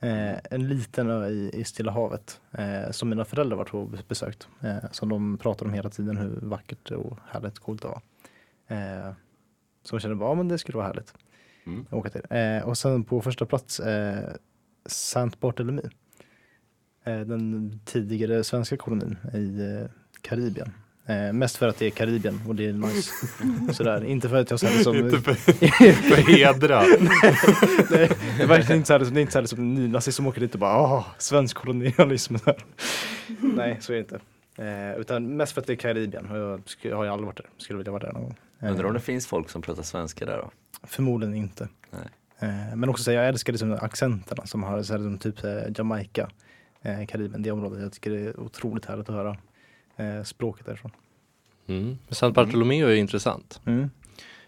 Eh, en liten ö i, i Stilla havet eh, som mina föräldrar varit och besökt. Eh, som de pratar om hela tiden hur vackert och härligt coolt det var. Eh, så jag kände bara, ja men det skulle vara härligt.
Mm.
att Åka till. Eh, och sen på första plats eh, Saint Barthélemy. Eh, den tidigare svenska kolonin i eh, Karibien. Eh, mest för att det är Karibien och det är nice. Sådär. Inte för att jag ser det som...
Inte för, för hedra.
Nej, det är verkligen inte så här, det är inte så här som nynazist som åker dit och bara ah, svensk kolonialism. Där. Nej, så är det inte. Eh, utan mest för att det är Karibien och jag sk- har ju aldrig varit där. Skulle vilja vara där någon gång. Eh,
Undrar om det finns folk som pratar svenska där då?
Förmodligen inte.
Nej.
Eh, men också så här, jag älskar liksom accenterna som har så här, som typ eh, Jamaica, eh, Karibien, det området. Jag tycker det är otroligt härligt att höra eh, språket därifrån.
Mm. Men San Bartolomeo är ju intressant.
Mm.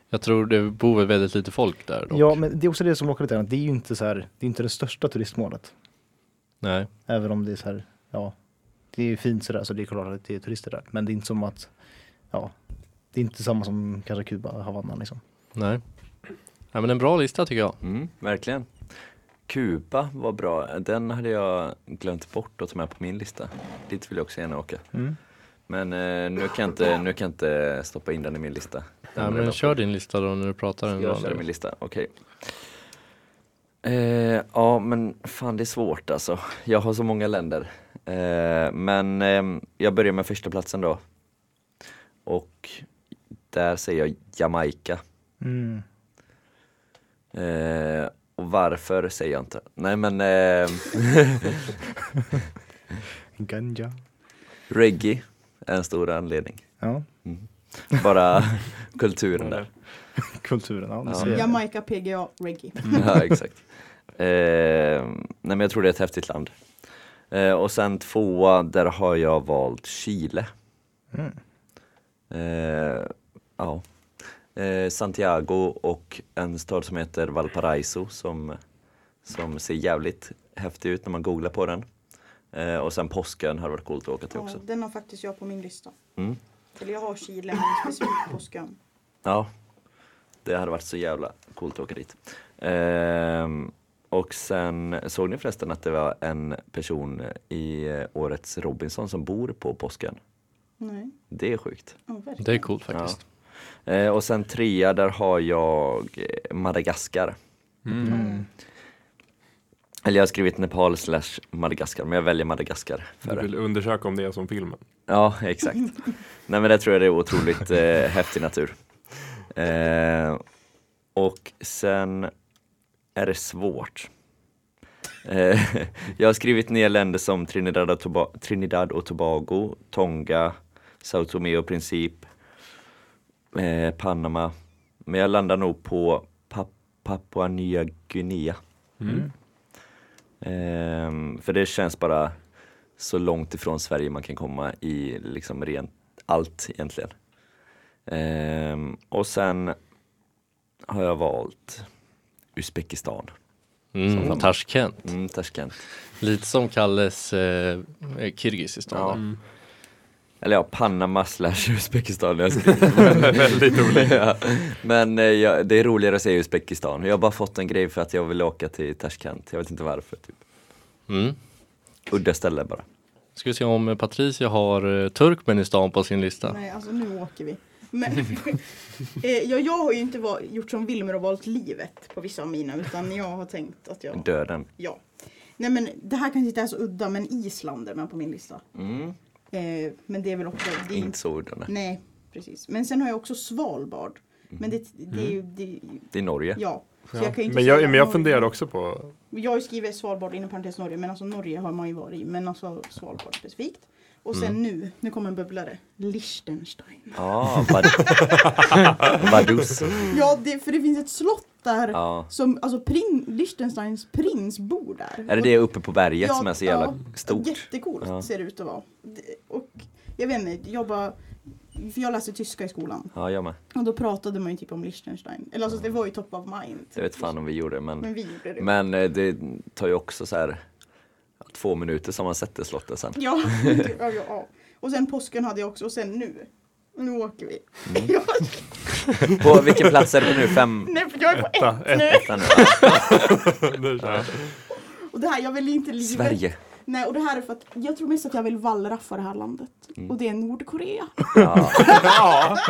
Jag tror det bor väl väldigt lite folk där dock.
Ja, men det är också det som lockar lite grann. Det är ju inte så här, det är inte det största turistmålet.
Nej.
Även om det är så här, ja, det är ju fint sådär så det är klart att det är turister där. Men det är inte som att, ja, det är inte samma som kanske Kuba, Havanna liksom.
Nej. Nej men en bra lista tycker jag.
Mm, verkligen. Kuba var bra, den hade jag glömt bort att ta med på min lista. Dit vill jag också gärna åka. Men eh, nu, kan jag inte, nu kan jag inte stoppa in den i min lista. Den
Nej
var jag
men
bra
kör din lista då när du pratar.
på.
en
jag
vanlig
kör min
lista.
lista, okej. Eh, ja men fan det är svårt alltså. Jag har så många länder. Eh, men ehm, jag börjar med första platsen då. Och där säger jag Jamaica.
Mm.
Eh, och varför säger jag inte. Nej men ehm,
Ganja.
reggae är en stor anledning.
Ja,
Bara kulturen där.
kulturen. Ja, det
Ja.
ser jag.
Jamaica, PGA, reggae.
Ja, exakt. Eh, nej men jag tror det är ett häftigt land. Eh, och sen tvåa, där har jag valt Chile.
Mm.
Eh, ja. Eh, Santiago och en stad som heter Valparaiso som, som ser jävligt häftig ut när man googlar på den. Eh, och sen påsken har varit coolt att åka till
Ja,
också.
den har faktiskt jag på min lista.
Mm.
Eller jag har Chile, men specifikt påsken.
Ja, det hade varit så jävla coolt att åka dit. Ehm, och sen såg ni förresten att det var en person i eh, årets Robinson som bor på påsken.
Nej,
Det är sjukt.
oh, verkligen.
Det är coolt faktiskt.
Ja. Eh, och sen trea, där har jag eh, Madagaskar. Eller jag har skrivit Nepal slash Madagaskar, men jag väljer Madagaskar. För
Du
det.
vill undersöka om det är som filmen.
Ja, exakt. Nej men det tror jag det är otroligt eh, häftig natur. Eh, och sen är det svårt. Eh, jag har skrivit ner länder som Trinidad och, Toba- Trinidad och Tobago, Tonga, Sao Tomé och Princip, eh, Panama. Men jag landar nog på Pap- Papua Nya Guinea. Ehm, för det känns bara så långt ifrån Sverige man kan komma i liksom rent allt egentligen. Ehm, och sen har jag valt Uzbekistan,
Mm, Tashkent.
mm, Tashkent.
Lite som kalles eh, Kirgizistan.
Ja.
där.
Mm.
Eller ja, Panama slash Uzbekistan. Jag Väldigt olika. Men eh, ja, det är roligare att säga Uzbekistan. Jag har bara fått en grej för att jag vill åka till Tashkent. Jag vet inte varför. Typ.
Mm.
Udda ställe bara.
Ska vi se om eh, Patricia har eh, Turkmenistan på sin lista.
Nej, alltså nu åker vi. Men, eh, ja, jag har ju inte va- gjort som Wilmer och valt livet på vissa av mina, utan jag har tänkt att jag...
Döden.
Ja. Nej, men det här kanske inte är så udda, men Island är med på min lista.
Mm.
Eh, men det är väl också... Det är
Inte så udda. nej.
Nej, precis. Men sen har jag också Svalbard.
Mm.
Men det, det är ju... Det,
Det är Norge.
ja. Så jag kan ju inte
Men
säga
jag, men jag
Norge.
funderar också på,
Jag har ju skrivit Svalbard inom parentes Norge, men alltså Norge har man ju varit i. Men alltså Svalbard specifikt. Och
Mm.
sen nu, nu kommer en bubblare. Liechtenstein.
Ja, Vad- Vaduz.
Ja, det, för det finns ett slott där.
Mm. Ja.
Som, alltså prin, Liechtensteins prins bor där.
Är det det uppe på berget
Ja,
som är så jävla
ja.
stort?
Jättecoolt
Ja.
ser det ut att vara. Det- Och jag vet inte, jag bara... För jag läste tyska i skolan.
Ja, jag med.
Och då pratade man ju typ om Liechtenstein. Eller alltså det var ju top of mind.
Jag vet fan om vi gjorde det,
Men
men,
vi gjorde det.
men eh, det tar ju också så här två minuter som man sätter slottet sen.
Ja, ja, ja, ja. Och sen påsken hade jag också. Och sen nu. Nu åker vi.
Mm.
Jag,
På vilken plats är det nu? Fem?
nej, för jag är på
Etta,
ett nu.
Ettan nu, va?
Och det här, jag vill inte livet.
Sverige.
Nej, och det här är för att jag tror mest att jag vill wallraffa det här landet.
Mm.
Och det är Nordkorea.
Ja.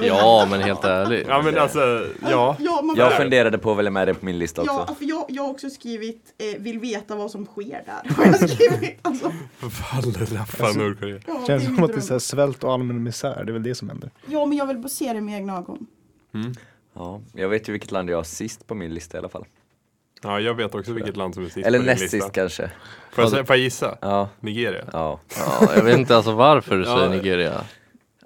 Ja, men helt ärligt.
ja men alltså, ja.
Ja, man
Jag funderade på att välja med det på min lista
Ja,
också.
för jag, jag har också skrivit eh, vill veta vad som sker där. Har jag skrivit. Alltså,
Wallraffa Nordkorea.
ja,
Känns
är
som
min
att det är
dröm.
så här svält och allmän misär, det är väl det som händer.
Ja, men jag vill bara se det med egna ögon.
Ja, jag vet ju vilket land jag har sist på min lista i alla fall.
Ja, jag vet också vilket land som är sist
Eller
på din
näst
lista.
sist kanske.
Får jag, säga- får jag gissa?
Ja,
Nigeria.
ja.
Ja, jag vet inte alltså varför du
Ja.
säger Nigeria.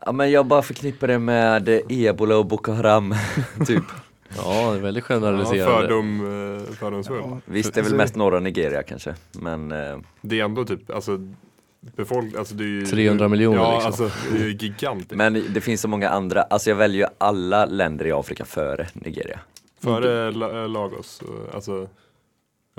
Ja men jag bara förknippar det med eh, ebola och Boko Haram, typ.
Ja, det är väldigt
Ja,
generaliserande.
fördom, eh, fördomsfull.
Visst, det är väl mest norra Nigeria kanske, men eh,
Det är ändå typ, alltså, befolk- alltså det är ju,
300 miljoner,
Ja,
liksom.
alltså det är ju
Typ.
gigantiskt.
Men det finns så många andra, alltså jag väljer ju alla länder i Afrika före Nigeria.
Före La- eh, Lagos, eh, alltså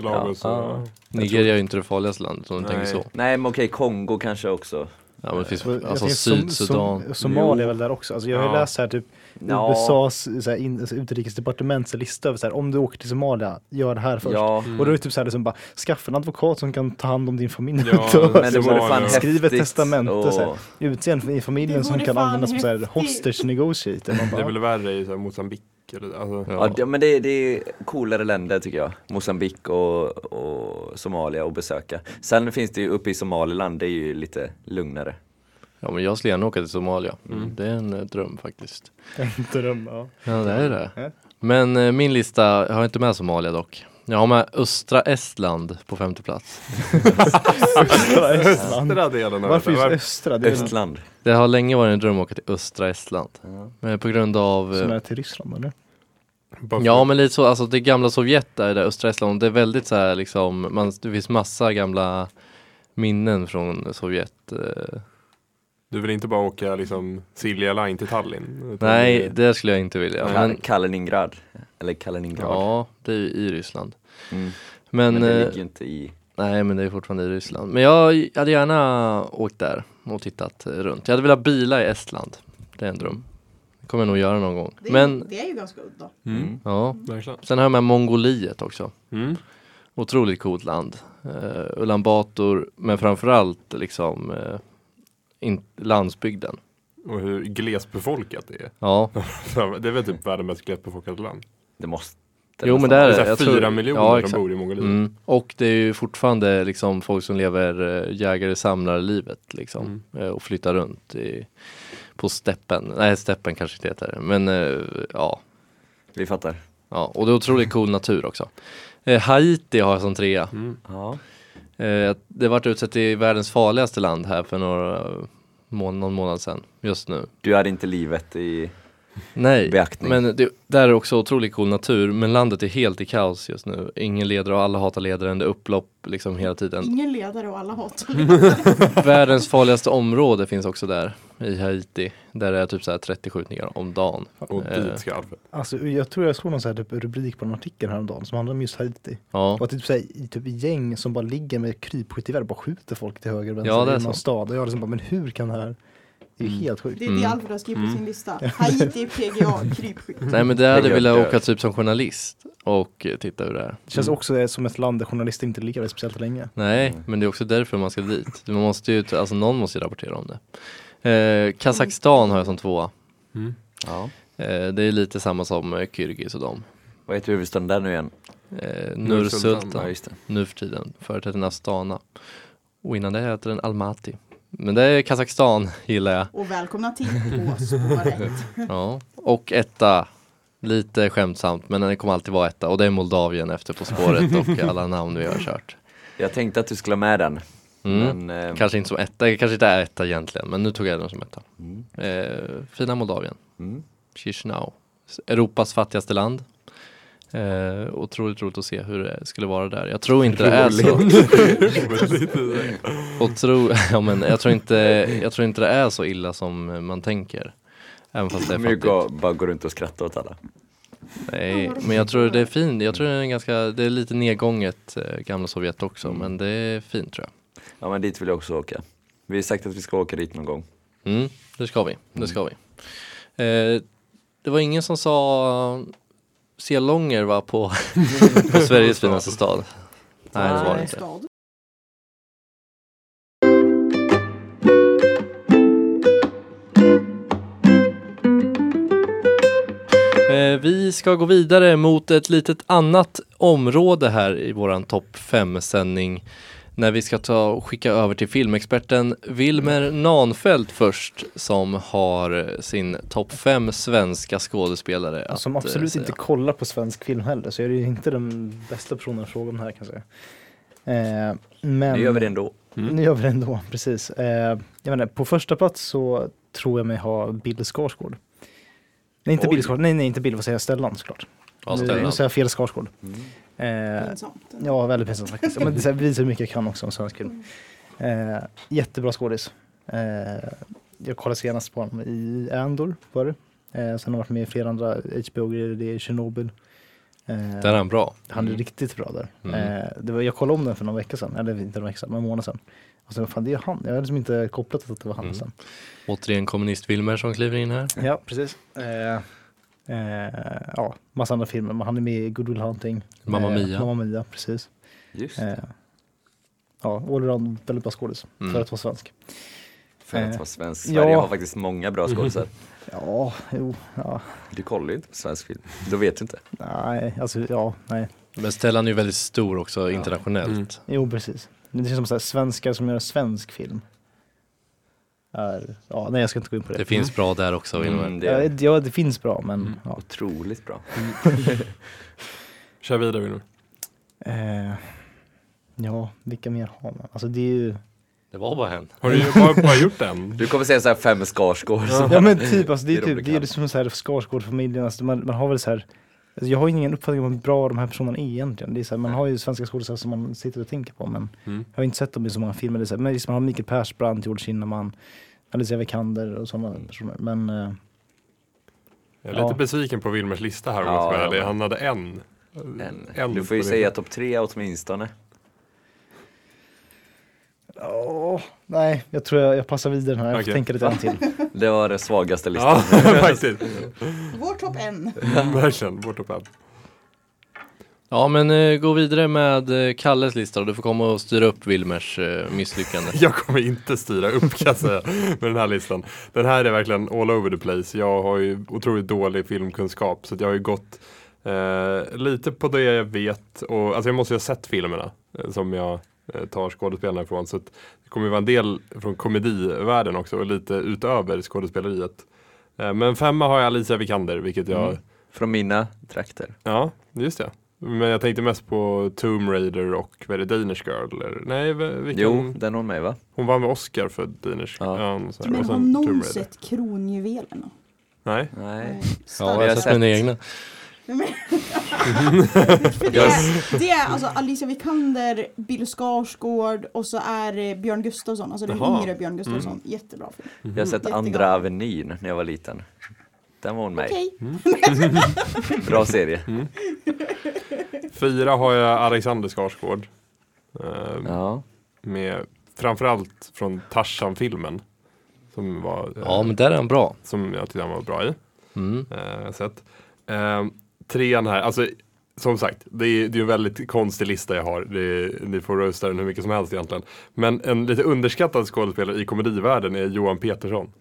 Lagos
Ja,
och,
Nigeria är ju inte det farligaste landet om du
Nej.
tänker så.
Nej men okej, Kongo kanske också.
Ja, men det finns
Så jag
alltså
tänker som-
Sydsudan.
som- Somalia är väl där också. Alltså jag har ju
Ja.
läst så här typ
Ja.
USAs så här, in, alltså, utrikesdepartements lista över så här, om du åker till Somalia, gör det här först.
Ja.
Mm.
Och då är det typ så här liksom bara, skaffa en advokat som kan ta hand om din familj.
Ja,
Och-
Men det vore fan
Somalia.
Skriv ett
häftigt
testamente
och-
så här. Utse en i familjen
Det
som
vore
kan
fan
användas som så här
häftigt.
hostage negotiator. Man
Det är
bara,
väl värre i så här Mozambique Mosambik eller alltså,
Ja. det- men det, det är coolare länder tycker jag. Mosambik och, och Somalia att besöka. Sen finns det ju uppe i Somaliland, det är ju lite lugnare.
Ja men jag skulle gärna åka till Somalia.
Mm.
Det är en eh, dröm faktiskt.
En dröm, ja.
Ja det är det.
Ja.
Men eh, min lista, jag har inte med Somalia dock. Jag har med östra Estland på femte plats.
Östra Estland.
Östra delen av
Varför just
Var-
östra? Det är väl
Östland.
Det har länge varit en dröm att åka till östra Estland. Men på grund av...
så
eh,
nära till Ryssland eller?
Bara
Ja
för-
men lite så, alltså det gamla Sovjet där, där östra Estland, det är väldigt så här liksom, man, det finns massa gamla minnen från Sovjet. eh.
Du vill inte bara åka liksom Silja Line till Tallinn? utan
Nej,
det-
det skulle jag inte vilja.
Ka-
Men,
Kaliningrad. Eller Kaliningrad.
ja, det är ju i Ryssland.
Mm.
Men,
Men det
eh,
ligger ju inte i...
nej men det är fortfarande i Ryssland. Men jag hade gärna åkt där och tittat eh, runt. Jag hade velat bila i Estland, det är en dröm. Det kommer jag nog göra någon gång.
Det är,
Men,
det är ju ganska udda.
Mm.
ja.
Verkligen.
Sen har jag med Mongoliet också.
Mm.
Otroligt coolt land. Uh, Ulan Bator, men framförallt liksom eh, in, landsbygden.
Och hur glesbefolkat det är.
Ja,
Det är väl typ världens mest glesbefolkade land.
Det måste
jo men
nästan
det är
Det är
det.
så här
Jag
fyra
tror-
miljoner
ja,
som
exakt.
bor i Mongoliet.
Mm. Och det är ju fortfarande liksom folk som lever eh, jägare-samlarlivet liksom. Eh, och flyttar runt i, på steppen. Nej, steppen kanske inte heter det. Men eh, ja,
Vi fattar.
ja. Och det är otroligt cool natur också. Eh, Haiti har jag som trea.
Ja.
Eh, det vart utsett till världens farligaste land här för några, må- någon månad sedan. Just nu.
Du hade inte livet i...
Nej,
beaktning.
men det, där är också otroligt cool natur, men landet är helt i kaos just nu. Ingen ledare och alla hatar ledaren, det är upplopp liksom hela tiden.
Ingen ledare och alla hatar
Världens farligaste område finns också där, i Haiti, där det är typ så här 30 skjutningar om dagen.
Och
Eh,
dit ska Alfred.
Alltså jag tror jag såg någon så här typ rubrik på en artikel häromdagen som handlade om just Haiti.
ja.
Och att det är typ, så här, i typ gäng som bara ligger med krypskyttegevär och bara skjuter folk till höger och vänster
Ja, det är
i
sant. Mm.
någon stad. Och jag liksom bara, men hur kan det här? Det är ju helt sjukt.
Det är det Alfred har skrivit på sin lista. Haiti, PGA, krypskytt.
Nej men där hade jag
gör-
velat
gör.
åka typ som journalist och eh, titta hur det är.
Det känns också eh, som ett land där journalister inte ligger där speciellt länge.
Nej, men det är också därför man ska dit. Man måste ju, alltså någon måste ju rapportera om det. Eh, Kazakstan har jag som tvåa.
Ja.
Eh, det är lite samma som eh, Kyrgyz och dem.
Vad heter huvudstaden där nu igen?
Eh,
Nursultan,
Nursultan.
Ja, just det.
nu för tiden. Förut hette den Astana. Och innan det hette den Almaty. Men det är Kazakstan gillar jag.
Och välkomna till På spåret.
Ja. Och etta. Lite skämtsamt men den kommer alltid vara etta. Och det är Moldavien efter På spåret och alla namn vi har kört.
Jag tänkte att du skulle ha med den.
Mm.
Men, eh,
Kanske inte som etta, det kanske inte är etta egentligen men nu tog jag den som etta. Eh, fina Moldavien.
Mm.
Chisinau. Europas fattigaste land. Eh, otroligt roligt att se hur det skulle vara där. Jag tror inte det är så. Och tro, ja, men jag, tror inte, jag tror inte det är så illa som man tänker. Även fast det är
kommer ju
fattigt.
gå, bara gå runt och skratta åt alla.
Nej, men jag tror det är fint. Jag tror det är, en ganska, det är lite nedgånget eh, gamla Sovjet också, men det är fint tror jag.
Ja men dit vill jag också åka. Vi har sagt att vi ska åka dit någon gång.
Mm, det ska vi. Det ska vi. Eh, det var ingen som sa Selånger va på, på Sveriges finaste stad. Nej, det var det inte.
Stad.
Eh, Vi ska gå vidare mot ett litet annat område här i våran topp 5-sändning när vi ska ta och skicka över till filmexperten Wilmer Nanfelt först som har sin topp 5 svenska skådespelare att,
Som
eh,
absolut
säga.
inte kollar på svensk film heller så jag är ju inte den bästa personen att fråga om det här kan jag säga. Eh, men...
Nu gör vi det ändå.
Nu gör vi det ändå, precis. Eh, jag menar, på första plats så tror jag mig ha Bill Skarsgård. Nej, inte
Oj.
Bill Skarsgård. Nej, nej, inte Bill. Vad säger jag? Stellan såklart.
Ja,
Nu, nu
Stellan. Mm.
säger jag fel Skarsgård. Eh,
Pinsamt.
ja, väldigt pinsamt faktiskt. Ja, Men det så här visar hur mycket jag kan också om svensk film. Eh, jättebra skådis. Eh, jag kollade senast på honom i Andor, var det. Eh, sen har han varit med i flera andra HBO-grejer. Det är Chernobyl. Eh,
Där är han bra.
han är riktigt bra där.
Mm.
Eh, det var, jag kollade om den för någon vecka sedan, eller inte någon vecka sedan, men en månad sedan. Och sen, fan det är han, jag hade liksom inte kopplat att det var han
Mm.
sen.
Återigen kommunist-Wilmer som kliver in här.
Ja, precis. Eh, eh, ja, massa andra filmer, men han är med i Good Will Hunting.
Mamma
Eh,
Mia.
Mamma Mia, precis.
Just.
Eh, ja, allround väldigt bra skådis,
Mm.
för att vara svensk.
för
Nej.
att vara svensk.
Ja.
Sverige har faktiskt många bra skådisar.
Ja, jo, ja,
Du kollar ju inte på svensk film, då vet du inte.
nej, alltså ja, nej.
Men Stellan är ju väldigt stor också internationellt.
Jo, precis. Men Det känns som så här, svenskar som gör svensk film. Är, ja, nej, jag ska inte gå in på det.
Det finns Mm. bra där också.
Mm,
Mm.
det
Ja,
är
det, ja, det finns bra, men ja.
otroligt bra.
Kör vidare Wilhelm.
Eh, ja, vilka mer har man? Alltså det är ju...
Det var bara en.
Har du bara, bara gjort en?
Du kommer säga så här fem Skarsgård.
Ja men typ, alltså, det är
Det är de
typ, det är
bekanta.
liksom så här Skarsgård-familjen, alltså, man, man har väl så här alltså, jag har ju ingen uppfattning om hur bra de här personerna är egentligen. Det är så här, man har ju svenska skådespelare som man sitter och tänker på men jag har inte sett dem i så många filmer. Det är så här, men liksom, man har Mikael Persbrandt, George Kinnaman, Alicia Vikander och sådana personer. Men eh,
Jag är lite
Ja.
besviken på Wilmers lista här om
Ja,
jag ska vara
ja.
ärlig. Han hade en.
En.
En
eh, Du får ju
på det.
säga topp tre åtminstone.
åh, nej, jag tror jag, jag passar vidare den här. Jag får
Okej.
tänka lite grann till.
Det var den svagaste listan.
Ja, faktiskt.
Vår topp en.
Verkligen, vår topp en.
Ja men eh, gå vidare med eh, Kalles lista och du får komma och styra upp Wilmers eh, misslyckande.
Jag kommer inte styra upp kan jag säga med den här listan. Den här är verkligen all over the place. Jag har ju otroligt dålig filmkunskap så att jag har ju gått eh, lite på det jag vet. Och, alltså jag måste ju ha sett filmerna eh, som jag eh, tar skådespelarna från. Så att det kommer ju vara en del från komedivärlden också och lite utöver skådespeleriet. Eh, men femma har jag Alicia Vikander vilket jag
Från mina trakter.
Ja, just det. Men jag tänkte mest på Tomb Raider och vad är det, Danish Girl? Eller, nej, v- vilken?
Jo, den har med va?
Hon vann väl Oscar för Danish Girl?
Ja.
Ja. något sånt här.
Men
Och
har
sen Tomb
någon
Raider.
sett kronjuvelerna?
Nej.
Nej.
Ja,
Starka.
jag
har
har sett mina
sett.
egna.
För det, är- det är alltså Alicia Vikander, Bill Skarsgård och så är det Björn Gustafsson, alltså den
Jaha. Mm.
yngre Björn Gustafsson. Jättebra film.
Jag har sett
Jättegalen.
Andra Avenyn när jag var liten. Den var hon med i.
Okej.
Mm.
Bra serie.
Fyra har jag Alexander Skarsgård. Eh,
Ja.
med, framförallt från Tarzan-filmen. Som, var, eh,
Ja men där är han bra.
som jag tyckte han var bra i.
Mm.
Eh, sett. Eh, trean här, alltså som sagt, det är, det är en väldigt konstig lista jag har. Det är, ni får roasta den hur mycket som helst egentligen. Men en lite underskattad skådespelare i komedivärlden är Johan Petersson.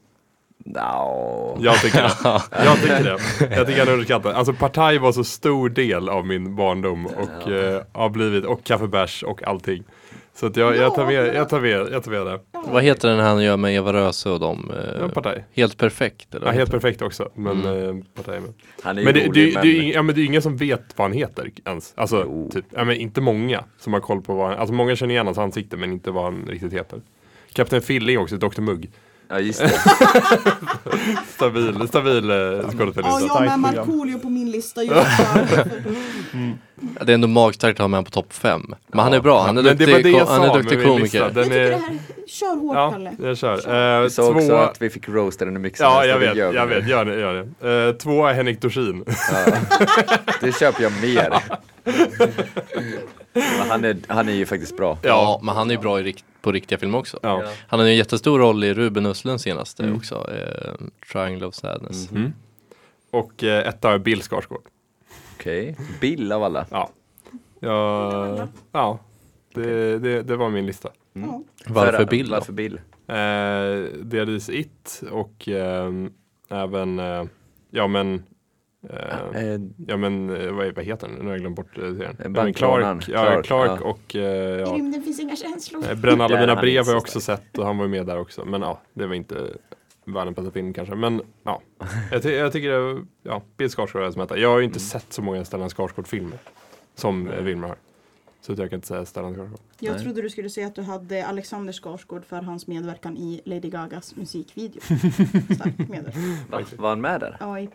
No.
Jag tycker det. Jag tycker det. Jag tycker han är underskattad. Alltså Partaj var så stor del av min barndom och eh, har blivit, och kaffebärs och allting. Så att jag, jag, tar med, jag, tar med, jag tar med det.
Vad heter den han gör med Eva Röse och dem? eh,
Ja, Partaj.
Helt perfekt? Eller?
Ja, helt perfekt också. Men eh, Partaj är med.
Han är ju
Men det,
rolig
det,
men...
det, är ju ing- ja, men det är ju ingen som vet vad han heter ens. Alltså,
Jo.
typ, ja, men inte många som har koll på vad han, alltså många känner igen hans ansikte men inte vad han riktigt heter. Kapten Filling också, Dr Mugg.
Ja just det.
Stabil, stabil eh, skådespelare.
Ja, jag har med
Starkt program.
Markoolio på min lista just för-
Ja, Det är ändå magstarkt att ha med honom på topp fem. Men han är bra, han är
Men det var det
duktig,
jag
ko- han
sa
är
med
duktig
min
komiker.
lista.
Jag
Den
tycker det
är,
här, kör hårt
ja,
Kalle.
jag kör. Eh,
Vi sa också
två,
att vi fick roasta den hur mycket som
ja,
helst,
jag
och det
vet,
gör vi
jag
nu.
vet, gör det. Gör det. Eh, två är Henrik Dorsin.
Det köper jag mer. men han, är, han är ju faktiskt bra.
Ja, men han är ju bra i rikt- på riktiga filmer också.
Ja. Mm.
Han har ju en jättestor roll i Ruben Östlunds senaste också, eh, Triangle of Sadness.
Mhm. Och eh, etta är Bill Skarsgård.
Okej. Bill av alla.
Ja, ja, ja. Det, det, det var min lista.
Ja.
Varför
För-
Bill då?
Varför Bill?
Eh, delvis It och ehm, även, eh, ja men, eh,
Eh,
ja men eh, vad, vad heter den? Nu har jag glömt bort eh, serien. Ja, men
bankrånaren,
Clark, ja,
Clark,
Clark
ja.
och eh,
I
ja.
rymden finns inga känslor.
eh, Bränn alla
Där
mina
han
brev
inte
har jag
så
också sett och han var ju med där också. Men ja, det var inte världens bästa film kanske. Men ja, jag, ty- jag tycker det, ja, Bill Skarsgård är det som heter. Jag har ju
Mm.
inte sett så många Stellan Skarsgård-filmer som eh, Wilmer har. Så att jag kan inte säga Stellan Skarsgård.
Jag trodde du skulle säga att du hade Alexander Skarsgård för hans medverkan i Lady Gagas musikvideo. Stark medverkan.
Va? Var han med där?
Ja, i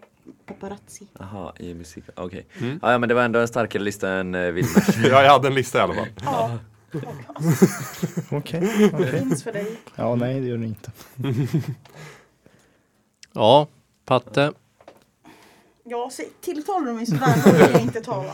Paparazzi.
Jaha, i musik. Okej.
Mm.
Ja, ja, men det var ändå en starkare lista än eh, Wilmer.
Ja, jag hade en lista i alla fall.
Ja,
Okej.
finns för dig.
Ja, nej, det gör det inte.
Ja, Patte.
Ja, se- tilltalar du mig sådär då vill jag inte tala.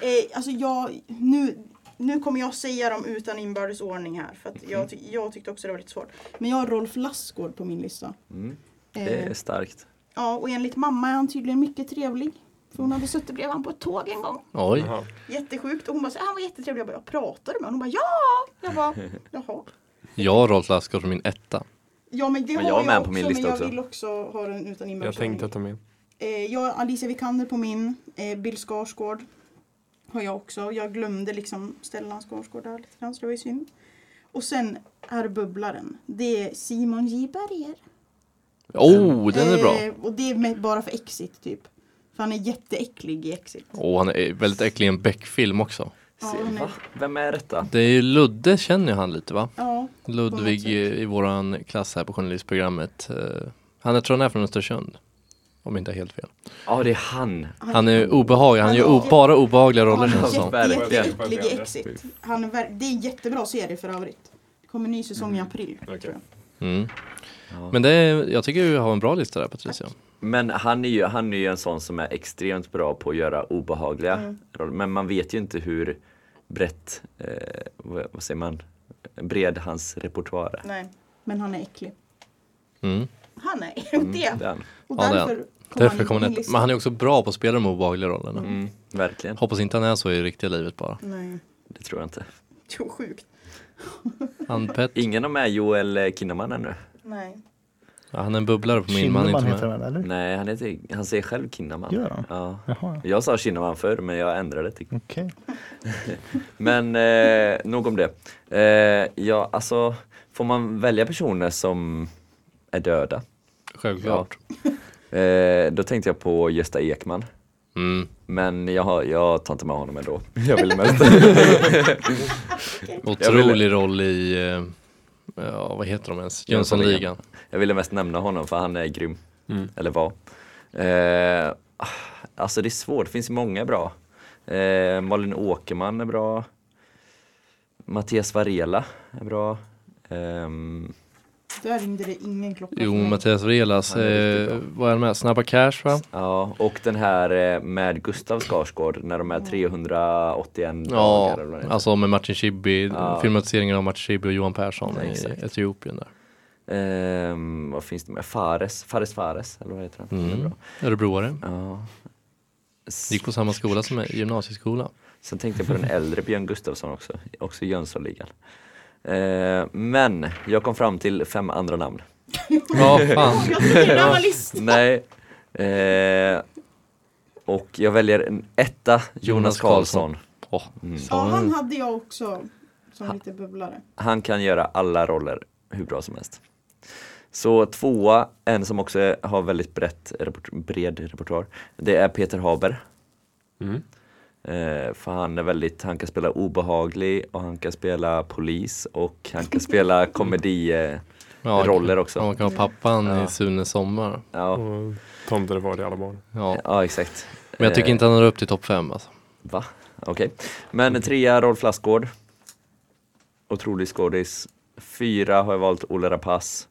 Eh, alltså jag, nu, nu kommer jag säga dem utan inbördes ordning här. För att
Mm.
jag, ty- jag tyckte också det var lite svårt. Men jag har Rolf Lassgård på min lista.
Mm. Det
Eh,
är starkt.
ja, och enligt mamma är han tydligen mycket trevlig. För hon hade suttit bredvid honom på ett tåg en gång.
Oj.
Jaha.
Jättesjukt. Och hon bara, så, här, "Ah, han var jättetrevlig. Jag bara, jag pratade med honom. Hon bara, ja! Jag bara, jaha.
Jag har Rolf Lassgård som min etta.
Ja men det
Men
har
jag är
jag,
med
också,
på min lista
men jag
också.
vill också ha den utan
Jag
inbördesordning.
tänkte att de är...
Eh, jag har Alicia Vikander på min. Eh, Bill Skarsgård har jag också. Jag glömde liksom Stellan Skarsgård där lite grann så det var ju synd. Och sen är bubblaren. Det är Simon J Berger.
Oh, den är bra.
Eh, och det är med, bara för Exit typ. För han är jätteäcklig i Exit.
Och han är väldigt äcklig i en Beck-film också.
Ja,
Se,
nej.
va? Vem är detta?
Det är ju Ludde känner ju han lite va?
Ja,
Ludvig
sätt.
i, i våran klass här på journalistprogrammet. Eh, Han är, tror han är från Östersund. Om jag inte är helt fel.
Ja det är han!
Han är obehaglig, han
Han
gör
är-
o- bara obehagliga roller
han
känns
är
det som.
Verkligen.
jätte- jätteäcklig i Exit. Han är, ver- det är en jättebra serie för övrigt. Det kommer en ny säsong i april. Tror jag.
Mm. Men det är, jag tycker vi har en bra lista där Patricia.
Men han är, ju, han är ju en sån som är extremt bra på att göra obehagliga roller. Men man vet ju inte hur brett, eh, vad, vad säger man, bred hans repertoar är.
Nej, men han är äcklig.
Mm.
Han är och det.
Det är han.
Och
Ja, det är han.
därför kom
Därför kommer
han
han
in på min
inte.
lista.
Men han är också bra på att spela de obehagliga rollerna.
Mm. Verkligen,
Hoppas inte han är så i riktiga livet bara.
Nej,
det tror jag inte.
jo, sjukt.
Ann-Pet,
Ingen av dem är Joel Kinnaman ännu.
Nej.
ja, han är en bubblare på min, men han är
Kinnaman
inte
heter
med.
den eller?
Nej, han, heter, han säger själv Kinnaman.
Gör han?
Ja.
Jaha,
Jag sa Kinnaman förr, men jag ändrade till
okej.
Men eh, nog om det. Eh, ja, alltså, får man välja personer som är döda?
Självklart.
Eh, då tänkte jag på Gösta Ekman.
Mm.
Men jag, har, jag tar inte med honom ändå. Jag vill mest.
Otrolig roll i, eh, ja vad heter de ens? Jönssonligan.
jag ville mest nämna honom för han är grym. Eller var. Eh, ah, alltså det är svårt, det finns ju många bra. Eh, Malin Åkerman är bra. Mattias Varela är bra. Ehm,
Där ringde det ingen klocka
Jo,
för mig.
Mattias Vrelas,
Han är riktigt
eh, vad är han med? Snabba Cash va?
ja, och den här eh, med Gustav Skarsgård när de är 381
Ja,
dagar eller vad det heter.
alltså med Martin Schibbye,
Ja.
filmatiseringen av Martin Schibbye och Johan Persson
Ja,
i
exakt.
Etiopien där.
Ehm, vad finns det med? Fares, Fares Fares eller vad heter han? Han är
Mm.
bra.
Örebroare.
Ja. S-
Gick på samma skola som mig, gymnasieskola.
Sen tänkte jag på den äldre Björn Gustafsson också, också i Jönssonligan. Eh, men jag kom fram till fem andra namn.
Ja, fan.
Jag tycker det där var listan.
Nej. Eh, och jag väljer en etta, Jonas
Jonas Karlsson.
Karlsson.
Åh,
Ja,
sa
han
du?
hade jag också som lite bubblare.
Han kan göra alla roller hur bra som helst. Så tvåa, en som också har väldigt brett, report- bred repertoar, det är Peter Haber.
Mm.
Eh, för han är väldigt, han kan spela obehaglig och han kan spela polis och han kan spela komedi eh,
Ja,
roller också.
Ja, man kan ha pappan
Ja.
i Sunes sommar.
Ja,
Och tomten är far till alla barn.
Ja.
ja exakt.
Men jag tycker
Eh,
inte han når upp till topp fem alltså.
Va? Okej. Men trea, Rolf Lassgård. Otrolig skådis. Fyra har jag valt Ola Rapace.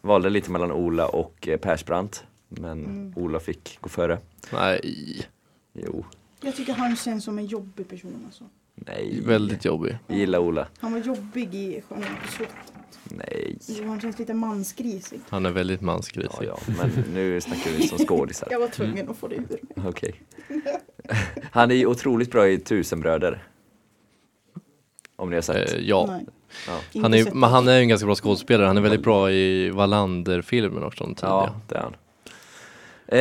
Valde lite mellan Ola och eh, Persbrandt. Men Ola fick gå före.
Nej,
Jo,
Jag tycker han känns som en jobbig person alltså.
nej.
väldigt jobbig.
Jag gillar Ola.
Han var jobbig i Stjärnorna på slottet.
Nej.
Jo, han känns lite mansgrisig.
Han är väldigt
Ja,
mansgrisig.
ja, men nu snackar vi som skådisar.
Jag var
Mm.
tvungen att få det ur mig.
Okej. Han är ju otroligt bra i Tusenbröder. Om ni har sett.
Eh, ja.
Nej.
Ja.
Han
Inte
är,
sett
men han är ju en ganska bra skådespelare. Han är väldigt bra i Wallander-filmen också, den
Ja,
tidiga.
det är han.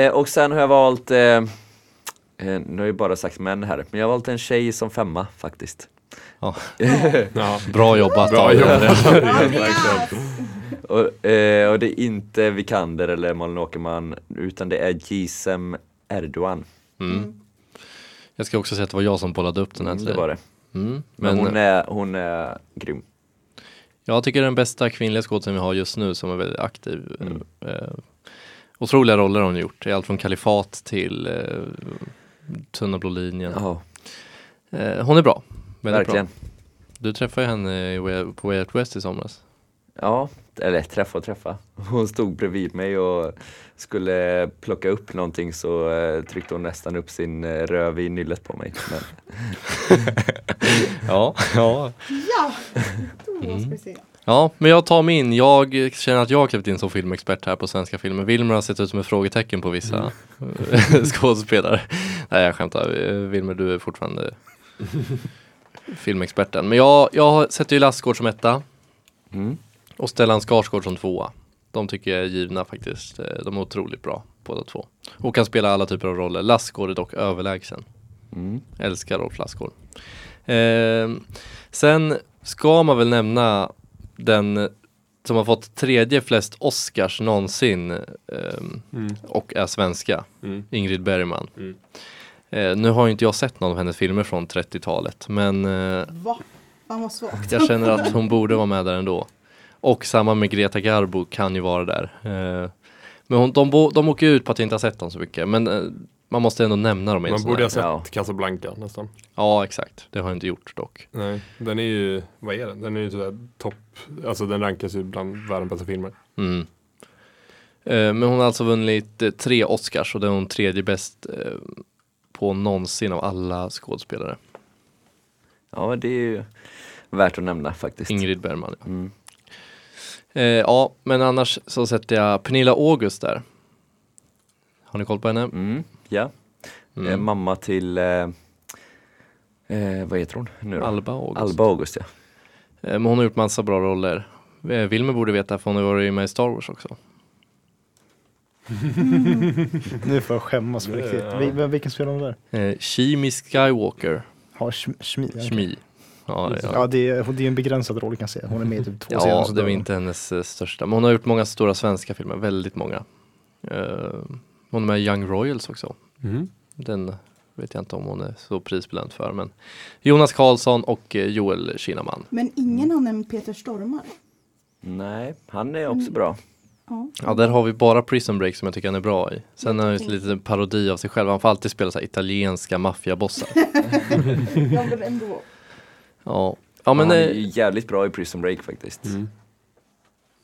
Eh, och sen har jag valt, eh, eh, nu har jag ju bara sagt män här, men jag har valt en tjej som femma faktiskt.
Ja.
Ja.
Bra jobbat.
Bra
av er.
jobbat!
Och, eh, och det är inte Vikander eller Malin Åkerman, utan det är Gisem Erdogan.
Mm. Jag ska också säga att det var jag som bollade upp den här till
Mm. Det
dig.
var det.
Mm.
Men,
Men,
hon, är, hon är grym.
jag tycker den bästa kvinnliga skådespelaren vi har just nu som är väldigt aktiv.
Mm.
Eh, otroliga roller har hon gjort. i Allt från Kalifat till eh, Tunna blå linjen.
Ja,
Eh, hon är bra. Väldigt
verkligen.
Bra. Du träffade ju henne i Way- på Way Out West i somras.
Ja, eller träffa och träffa. Hon stod bredvid mig och skulle plocka upp någonting så eh, tryckte hon nästan upp sin eh, röv i nyllet på mig. Men,
Ja, ja.
Ja,
Mm.
då ska vi se.
Ja, men jag tar min. Jag känner att jag har klivit in som filmexpert här på svenska filmer. Wilmer har sett ut som ett frågetecken på vissa skådespelare. Nej, jag skämtar. Eh, Wilmer, du är fortfarande filmexperten. Men jag, jag har- sätter ju Lassgård som etta
mm.
och Stellan Skarsgård som tvåa. de tycker jag är givna faktiskt. Eh, De är otroligt bra båda två. Och kan spela alla typer av roller. Lassgård är dock överlägsen.
Mm.
Älskar Rolf Lassgård. Eh, sen ska man väl nämna den som har fått tredje flest Oscars någonsin ehm,
Mm.
och är svenska.
Mm.
Ingrid Bergman.
Mm.
Eh, nu har ju inte jag sett någon av hennes filmer från 30-talet men eh,
Va? Fan vad svagt.
jag känner att hon borde vara med där ändå. Och samma med Greta Garbo kan ju vara där. Eh, men hon, de, bo- de åker ju ut på att jag inte har sett dem så mycket men eh, man måste ändå nämna dem. i en
Man
sån
borde
här.
ha sett
Ja.
Casablanca nästan.
Ja exakt, det har jag inte gjort dock.
Nej, den är ju, vad är den? Den är ju sådär topp, alltså den rankas ju bland världens bästa filmer.
Mm. Eh, Men hon har alltså vunnit eh, tre Oscars och det är hon tredje bäst eh, på någonsin av alla skådespelare.
Ja, men det är ju värt att nämna faktiskt.
Ingrid Bergman. Ja.
Mm.
Eh, ja, men annars så sätter jag Pernilla August där. Har ni koll på henne?
Mm, ja.
Mm.
Eh, mamma till, eh, eh, vad heter hon nu då?
Alba August.
Alba August ja.
Eh, men hon har gjort massa bra roller. Eh, Wilmer borde veta för hon har varit med i Star Wars också.
Nu får jag skämmas på
Det-
riktigt.
ja.
Vi- vem- Vilken spelar hon där?
Eh, Shimi Skywalker.
Ja, Schm- Schmi. ja.
Shmi. Ja, ja.
Ja, det är, hon- det är en begränsad roll kan jag säga. Hon är med i typ två scener.
Ja,
så
det
dör
är
hon.
inte hennes eh, största. Men hon har gjort många stora svenska filmer, väldigt många. Eh, hon är med i Young Royals också.
Mm.
Den vet jag inte om hon är så prisbelönt för. Men Jonas Karlsson och eh, Joel Kinnaman.
Men ingen har nämnt Peter Stormare.
Nej, han är också bra.
Ja.
Ja, där har vi bara Prison Break som jag tycker han är bra i. Sen har han ju en liten parodi av sig själv. Han får alltid spela så här italienska maffiabossar.
Jag vill ändå.
Ja. Ja, men
han är
eh, Mm.
ju jävligt bra i Prison Break faktiskt.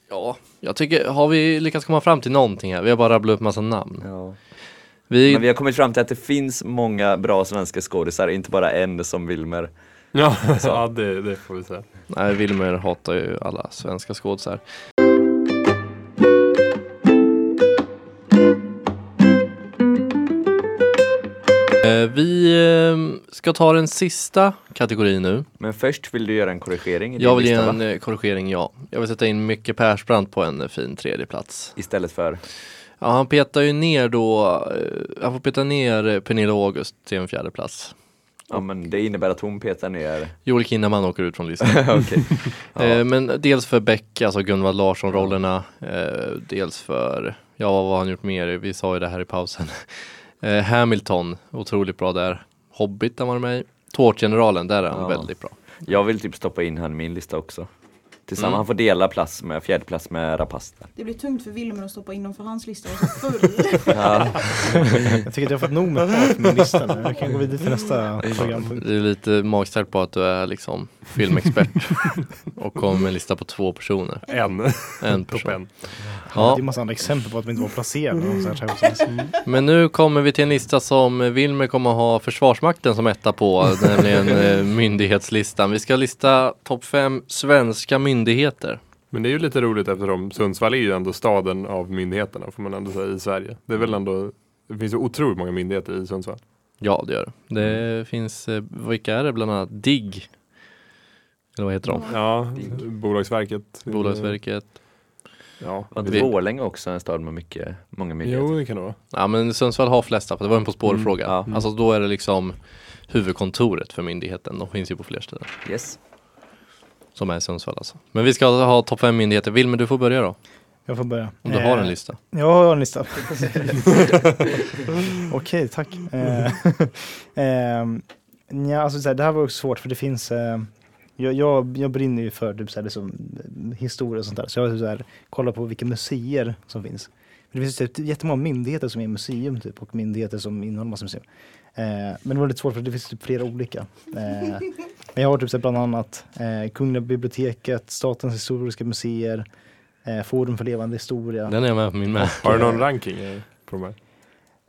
ja, jag tycker, har vi lyckats komma fram till någonting här? Vi har bara rabblat upp massa namn.
Ja.
Vi,
Men vi har kommit fram till att det finns många bra svenska skådisar, inte bara en som Wilmer.
Ja, ja det, det får vi säga.
Nej, Wilmer hatar ju alla svenska skådisar. Eh, Vi eh, ska ta den sista kategorin nu.
Men först vill du göra en korrigering i din
Jag vill ge
lista,
en
va?
eh, korrigering, ja. Jag vill sätta in Micke Persbrandt på en eh, fin tredje plats.
Istället för,
Ja, han petar ju ner då, eh, han får peta ner eh, Pernilla August till en fjärde plats.
ja men det innebär att hon petar ner.
Joel Kinnaman åker ut från listan.
Okej. Ja.
Eh, Men dels för Beck, alltså Gunvald Larsson-rollerna, eh, dels för, ja vad har han gjort mer? Vi sa ju det här i pausen. Eh, Hamilton, otroligt bra där. Hobbit han var med i. Tårtgeneralen, där är han
Ja.
väldigt bra.
Jag vill typ stoppa in han i min lista också. Tillsammans,
Mm.
han får dela plats med, fjärde plats med Rapace.
Det blir tungt för Wilmer att stoppa in dem för hans lista är så full.
Jag tycker att jag har fått nog med hat med listan. nu. Jag kan gå vidare till nästa programpunkt.
Det är lite magstarkt på att du är liksom filmexpert och kommer med en lista på två personer.
En,
En
topp
person.
en.
Det
Ja,
är massa andra exempel på att vi inte var placerade. och så här saker.
men nu kommer vi till en lista som Wilmer kommer ha Försvarsmakten som etta på, nämligen eh, myndighetslistan. Vi ska lista topp fem svenska myndigheter.
Men det är ju lite roligt eftersom Sundsvall är ju ändå staden av myndigheterna får man ändå säga i Sverige. Det är väl ändå, det finns ju otroligt många myndigheter i Sundsvall.
Ja, det gör det.
Mm.
Det finns, eh, vilka är det bland annat? DIGG? Eller vad
Mm.
heter de?
Ja, Bolagsverket.
Bolagsverket.
Ja,
Var inte
Vi-
Borlänge också en stad med mycket, många myndigheter?
jo det kan det vara.
Ja, men Sundsvall har flest, för det var en På spårfråga.
Mm, ja.
fråga Alltså då är det liksom huvudkontoret för myndigheten. De finns ju på fler ställen.
Yes.
Som är i Sundsvall alltså. Men vi ska ha topp fem myndigheter. Wilmer, du får börja då.
Jag får börja.
Om du har
Eh,
en lista.
Jag har en lista. Okej, tack. Eh, ehm, nja, alltså, så här, det här var också svårt för det finns, eh, jag, jag, jag brinner ju för typ, så här, liksom, eh, historia och sånt där. Så jag har typ, så här, kollat på vilka museer som finns. För det finns typ, jättemånga myndigheter som är museum typ, och myndigheter som innehåller massa museum. Eh, men det var lite svårt för det finns typ flera olika. Eh, men jag har typ, så här, bland annat eh, Kungliga biblioteket, Statens historiska museer, eh, Forum för levande historia.
Den är jag med på min med.
Har du någon ranking eh, på de här?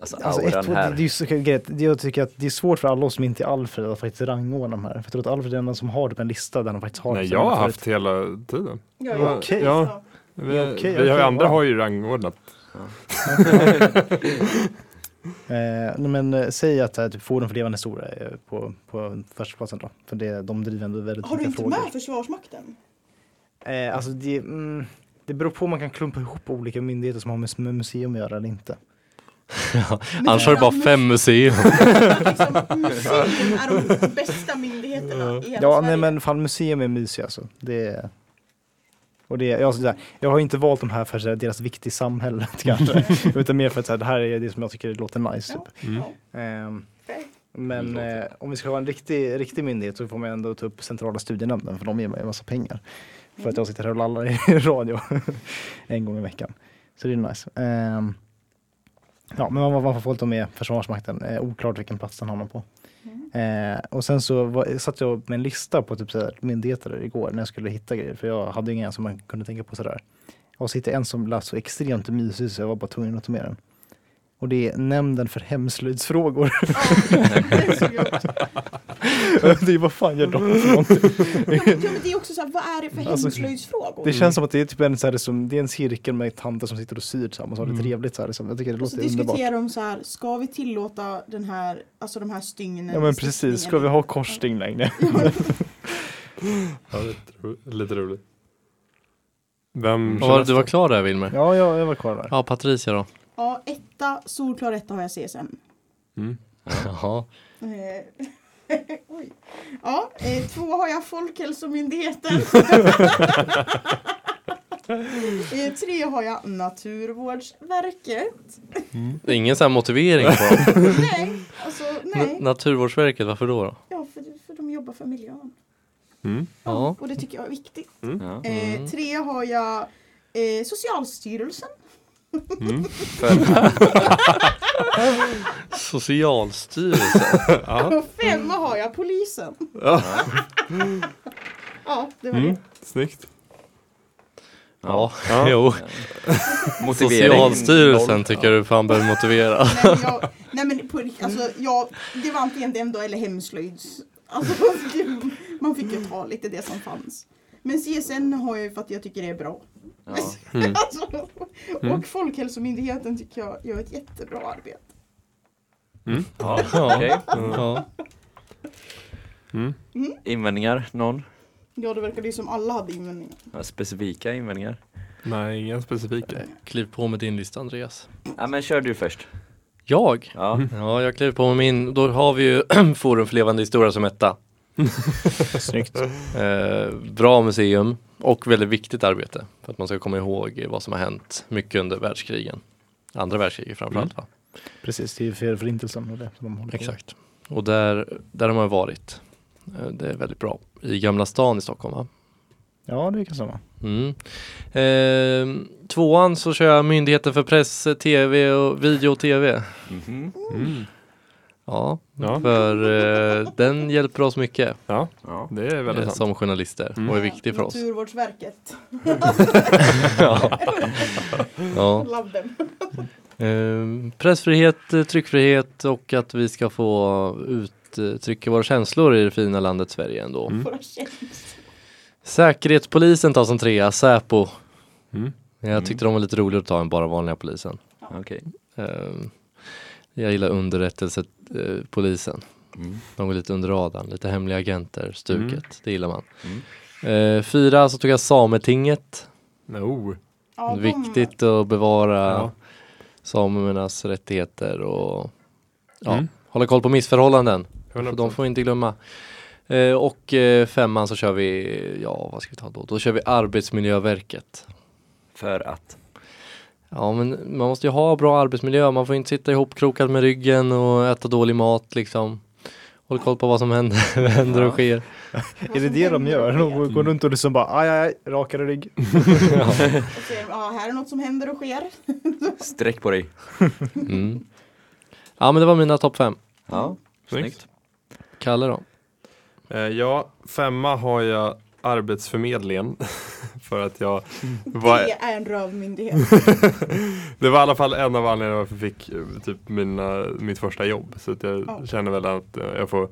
Alltså,
Alltså ett,
auran
två, det, det
här.
är ju så, grejen, det- jag tycker att det är svårt för alla oss som inte är Alfred att faktiskt rangordna de här. För jag tror att Alfred är den enda som har typ en lista där han faktiskt har.
Nej
sina
jag har
favoriter.
haft hela tiden.
Ja,
Ja,
ja.
okej.
Ja, vi,
Ja, okej,
vi har ju
okej,
andra
wow.
har ju rangordnat.
Eh, nej, men eh, säg att eh, typ, Forum för levande historia är på, på första platsen då. För det, de driver ändå väldigt
Har du
viktiga
inte
frågor.
med Försvarsmakten?
Eh, alltså det, mm, Det beror på om man kan klumpa ihop olika myndigheter som har med med museum att göra eller inte.
Annars har du bara fem museer.
Liksom, museum är de bästa myndigheterna i hela
Ja,
Sverige.
nej men fan museum är mysiga alltså. Det är... Och det, är- jag, sådär, jag har inte valt de här för sådär, deras vikt i samhället kanske, utan mer för att såhär, det här är det som jag tycker låter nice.
Ja,
Typ.
Mm.
ja,
Ehm,
fair.
men eh, om vi ska ha en riktig, riktig myndighet så får man ändå ta upp centrala studienämnden för de ger mig en massa pengar. För att jag sitter här och lallar i radio en gång i veckan. Så det är nice. Ehm, ja, men man, man får få lite med Försvarsmakten. Eh, oklart vilken plats den hamnar på. Eh, och sen så var, satt jag med en lista på typ så här, myndigheter igår när jag skulle hitta grejer. För jag hade inga som man kunde tänka på sådär. Och så hittade jag en som lät så extremt mysig så jag var bara tvungen att ta med den. Och det är Nämnden för hemslöjdsfrågor.
Det är så grovt.
det är vad fan gör de för någonting?
Ja, men- ja, men det är också så här, vad är det för
Alltså,
hemslöjdsfrågor?
Det känns som att det är typ en, så här, som, det är en cirkel med tanter som sitter och syr tillsammans och har det trevligt. Så här, liksom. Jag tycker det
Och så
låter underbart.
diskuterar de så här, ska vi tillåta den här, alltså de här stygnen?
Ja men precis, ska vi ha korsstygn längre?
Ja, lite, ro- lite roligt. Vem
Vad var det- Du
kör
var klar där Wilmer?
Ja, jag, jag var kvar där.
Ja, Patricia då?
Ja, etta, solklar etta har jag CSN.
Jaha.
Eh, Oj. Ja, eh, två har jag Folkhälsomyndigheten. eh, tre har jag Naturvårdsverket.
Det är ingen sån här motivering på dem.
Nej, alltså
N-
nej.
Naturvårdsverket, varför då? då?
Ja, för, för de jobbar för miljön.
Ja.
Och det tycker jag är viktigt.
Ja.
Eh, tre har jag eh, Socialstyrelsen.
Socialstyrelsen.
Och femma har jag Polisen. ja, det var det.
Snyggt.
Ja, jo.
Motivering,
Socialstyrelsen
noll.
tycker du fan behöver motivera.
Nej men, jag, nej, men på, rikt- alltså,
Mm.
jag, det var antingen den då eller hemslöjds. Alltså, man fick ju- man fick ju ta lite det som fanns. Men CSN har jag ju för att jag tycker det är bra.
Ja.
Alltså,
Mm.
och Folkhälsomyndigheten tycker jag gör ett jättebra arbete.
Ja.
Okej.
Ja.
Invändningar? Någon?
Ja, det verkar ju som alla hade invändningar.
Ja, specifika invändningar?
Nej, inga specifika.
Kliv på med din lista Andreas.
Ja men kör du först.
Jag?
Ja.
Ja, jag kliver på med min. Då har vi ju Forum för levande historia som etta.
Snyggt.
Eh, bra museum och väldigt viktigt arbete för att man ska komma ihåg vad som har hänt mycket under världskrigen. Andra världskriget framförallt va?
Precis, det är ju för förintelsen och det som de håller på med.
Exakt. Och där, där har man varit. Eh, Det är väldigt bra. I Gamla stan i Stockholm va?
Ja, det kan stämma.
Mm. Eh, tvåan så kör jag Myndigheten för press, tv och video och tv.
Mm.
Ja,
Ja.
för eh, den hjälper oss mycket
Ja,
Ja.
det är väldigt
eh,
sant.
som
Mm.
journalister och är viktig för oss.
Naturvårdsverket.
Ja.
Love them.
Eh, pressfrihet, eh, tryckfrihet och att vi ska få uttrycka våra känslor i det fina landet Sverige ändå.
Mm.
Våra tjänster.
Säkerhetspolisen tar som trea, Säpo.
Mm.
Jag tyckte de var lite roligare att ta än bara vanliga polisen.
Okej.
Eh, jag gillar underrättelsepolisen. Eh, polisen.
Mm.
De går lite under radarn, lite hemliga agenter, stuket. Det gillar man.
Mm.
Eh, fyra så tog jag Sametinget.
No.
Ja, de-
Viktigt att bevara
Ja.
samernas rättigheter och ja,
Mm.
hålla koll på missförhållanden.
100%.
För de får vi inte glömma. Eh, och eh, femman så kör vi, ja vad ska vi ta då? Då kör vi Arbetsmiljöverket.
För att.
Ja men man måste ju ha bra arbetsmiljö, man får inte sitta ihopkrokad med ryggen och äta dålig mat liksom. Håll koll på vad som händer, händer och sker.
vad
Är det
som
det de
händer
gör?
och sker.
De går runt och liksom bara aj, aj, aj rakare rygg.
Och så är de, ja, här är något som händer och sker.
Sträck på dig.
Mm. Ja men det var mina topp fem.
Ja.
Snyggt.
Snyggt.
Kalle då?
Eh, ja, femma har jag Arbetsförmedlingen. för att jag var,
Det är en rövmyndighet.
Det var i alla fall en av anledningarna varför jag fick eh, typ mina, mitt första jobb. Så att jag
Ja.
känner väl att eh, jag får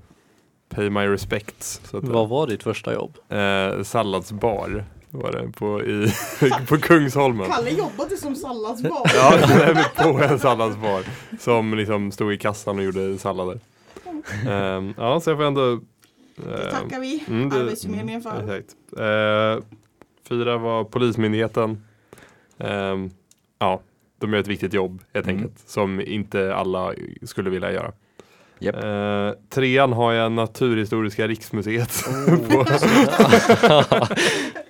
pay my respects. Så att,
Vad var ditt första jobb?
eh, salladsbar var det på, i, på Kungsholmen.
Kalle jobbade som salladsbar.
Ja, nej, men på en salladsbar. Som liksom stod i kassan och gjorde sallader. Ehm, ja, så jag får ändå...
Det
ehm,
tackar vi
Mm, det-
Arbetsförmedlingen för.
Exakt. Eh, fyra var Polismyndigheten. Ehm, ja, de gör ett viktigt jobb helt
Mm.
enkelt som inte alla skulle vilja göra.
Japp.
Eh, trean har jag Naturhistoriska riksmuseet.
Oh.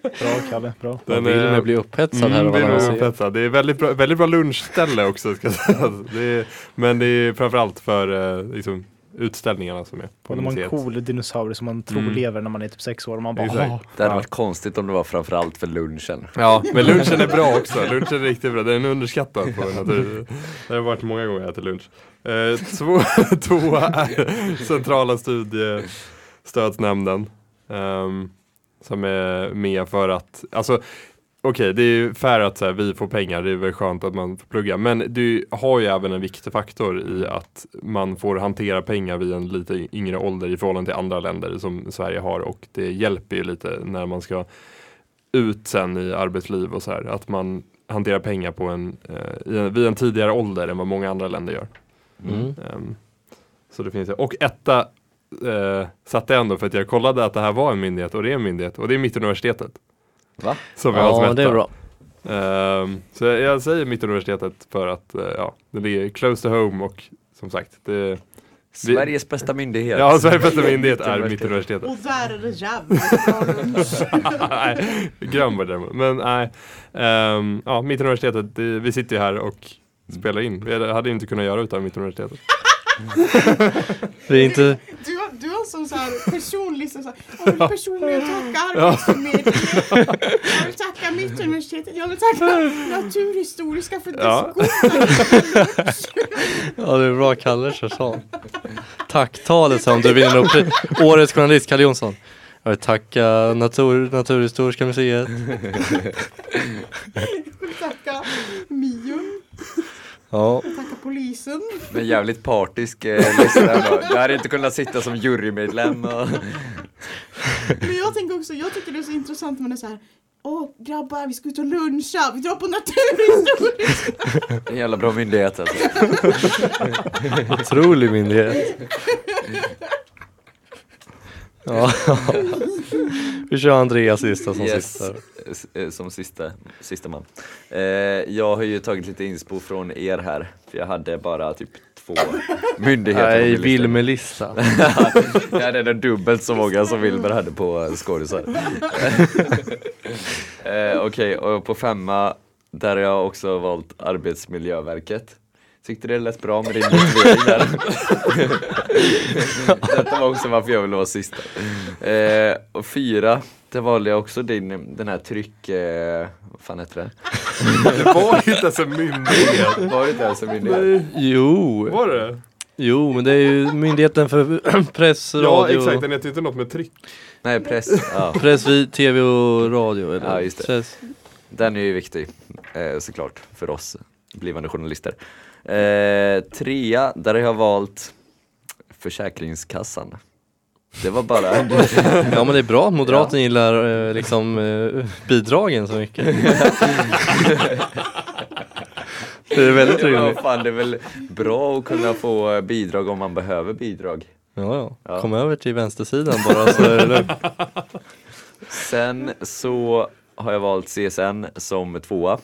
Bra Kalle, bra.
Den
vill
är-
man bli upphetsad här
Mm,
av
det,
alla
är nog
museer.
upphetsad. det är väldigt bra, väldigt bra lunchställe också ska sägas. Det är, men det är framförallt för eh, liksom, utställningarna som är på
Och de har en
museet.
cool dinosaurie som man tror
Mm.
lever när man är typ sex år och man bara
Exakt.
"Åh."
Det hade varit konstigt om det var framförallt för lunchen.
Ja, men lunchen är bra också. Lunchen är riktigt bra. Den är underskattad på natur. Det har varit många gånger jag ätit lunch. Eh, två, två är centrala studiestödsnämnden. ehm, som är med för att, alltså okej det är ju fair att så här, vi får pengar, det är väl skönt att man får plugga. Men du har ju även en viktig faktor i att man får hantera pengar vid en lite yngre ålder i förhållande till andra länder som Sverige har och det hjälper ju lite när man ska ut sen i arbetsliv och så här. Att man hanterar pengar på en, eh, i en, vid en tidigare ålder än vad många andra länder gör.
Mm.
Ehm, så det finns det. Och etta eh, satte jag ändå för att jag kollade att det här var en myndighet och det är en myndighet och det är Mittuniversitetet.
Va?
Som vi har som
Ja,
etta.
det är bra.
Ehm, så jag, jag säger Mittuniversitetet för att eh, ja, det ligger close to home och som sagt, det, Vi-
Sveriges bästa myndighet.
ja, Sveriges bästa myndighet är
Mittuniversitetet.
Mittuniversitetet.
Och där är det jävligt bra lunch.
nej, Grönberg däremot. Men nej. Ehm, ja, Mittuniversitetet, det- vi sitter ju här och spelar in. Vi hade- hade ju inte kunnat göra utan Mittuniversitetet.
Det är inte,
Du, har- du har som så här personlig, så så här, jag vill personligen tacka Arbetsförmedlingen. Jag vill tacka Mittuniversitetet. Jag vill tacka Naturhistoriska för dess
Ja.
goda
ja, det är bra Kalle Körsson. Tacktalet som du vinner upp Årets journalist Kalle Jonsson. Jag vill tacka natur, Naturhistoriska museet.
Tacka Mion.
Ja,
Tacka polisen.
Men jävligt partisk eh, lista ändå. Jag hade inte kunnat sitta som jurymedlem och...
Men jag tänker också, jag tycker det är så intressant när det är så här Åh grabbar, vi ska ut och luncha, vi drar på naturhistoria!
En jävla bra myndighet alltså.
otrolig myndighet. Ja. Vi kör Andreas sista som
Yes.
sista.
S- eh, Som sista, sista man. Eh, jag har ju tagit lite inspo från er här. För jag hade bara typ två myndigheter. på
Nej,
min
Vilmelista.
lista. Jag hade nog dubbelt så många som Wilbur hade på skådisar. eh, Okej, och på femma, där har jag också valt Arbetsmiljöverket. Tyckte det lät bra med din motivering där. Detta var också varför jag ville vara sista. Eh, och fyra, där valde jag också din, den här tryck... Eh, vad fan heter det?
Det var ju inte ens en myndighet.
Var det inte ens en myndighet?
Jo,
Var det?
jo, men det är ju Myndigheten för press,
Ja,
radio,
exakt. Den hette inte något med tryck.
Nej, press. Ja.
press, vi- tv och radio. Eller?
Ja, just det.
Press.
Den är ju viktig eh, såklart för oss blivande journalister. Eh, trea, där har jag valt Försäkringskassan. Det var bara...
Ja men det är bra att moderaten gillar eh, liksom eh, bidragen så mycket. det är väldigt
Ja, men
roligt.
fan, det är väl bra att kunna få eh, bidrag om man behöver bidrag.
Ja, ja.
Ja.
Kom över till vänstersidan bara så är det lugnt.
Sen så har jag valt CSN som tvåa.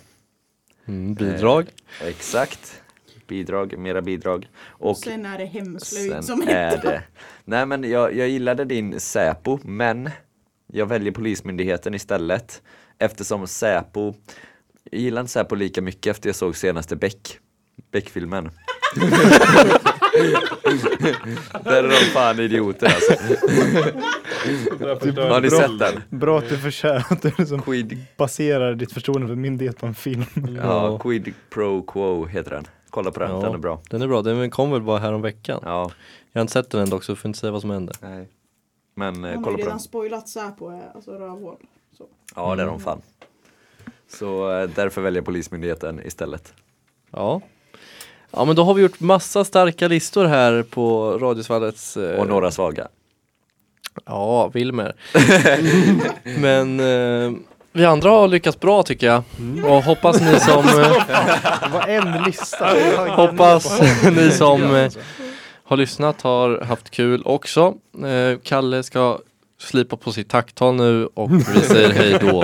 mm, Bidrag.
Exakt. Bidrag, mera bidrag. Och
Sen är det hemslöjd som
Sen
heter
är det. Nej men jag, jag gillade din Säpo, men jag väljer Polismyndigheten istället. Eftersom Säpo, jag gillar inte Säpo lika mycket efter jag såg senaste Beck. Beck-filmen. Där är de fan idioter alltså. Har ni sett den?
Bra att du försöker att du liksom
Quid,
baserar ditt förtroende för myndighet på en film.
ja, quid pro quo heter den. Kolla på den,
Ja,
den är bra.
Den är bra, den kom väl bara härom veckan.
Ja,
Jag har inte sett den än dock så jag får inte säga vad som hände.
nej. Men eh,
Han har
kolla
ju
på den.
redan spoilat Säpo, eh, alltså rövhål. Så.
Ja, det är de fan. Så eh, därför väljer jag Polismyndigheten istället.
Ja. Ja men då har vi gjort massa starka listor här på Radiosvallets eh,
Och några svaga.
Ja, Wilmer. Men eh, vi andra har lyckats bra tycker jag.
Mm.
Och hoppas ni som, eh,
Vad en lista!
hoppas ni som eh, har lyssnat har haft kul också. Eh, Kalle ska slipa på sitt tacktal nu och vi säger hej då.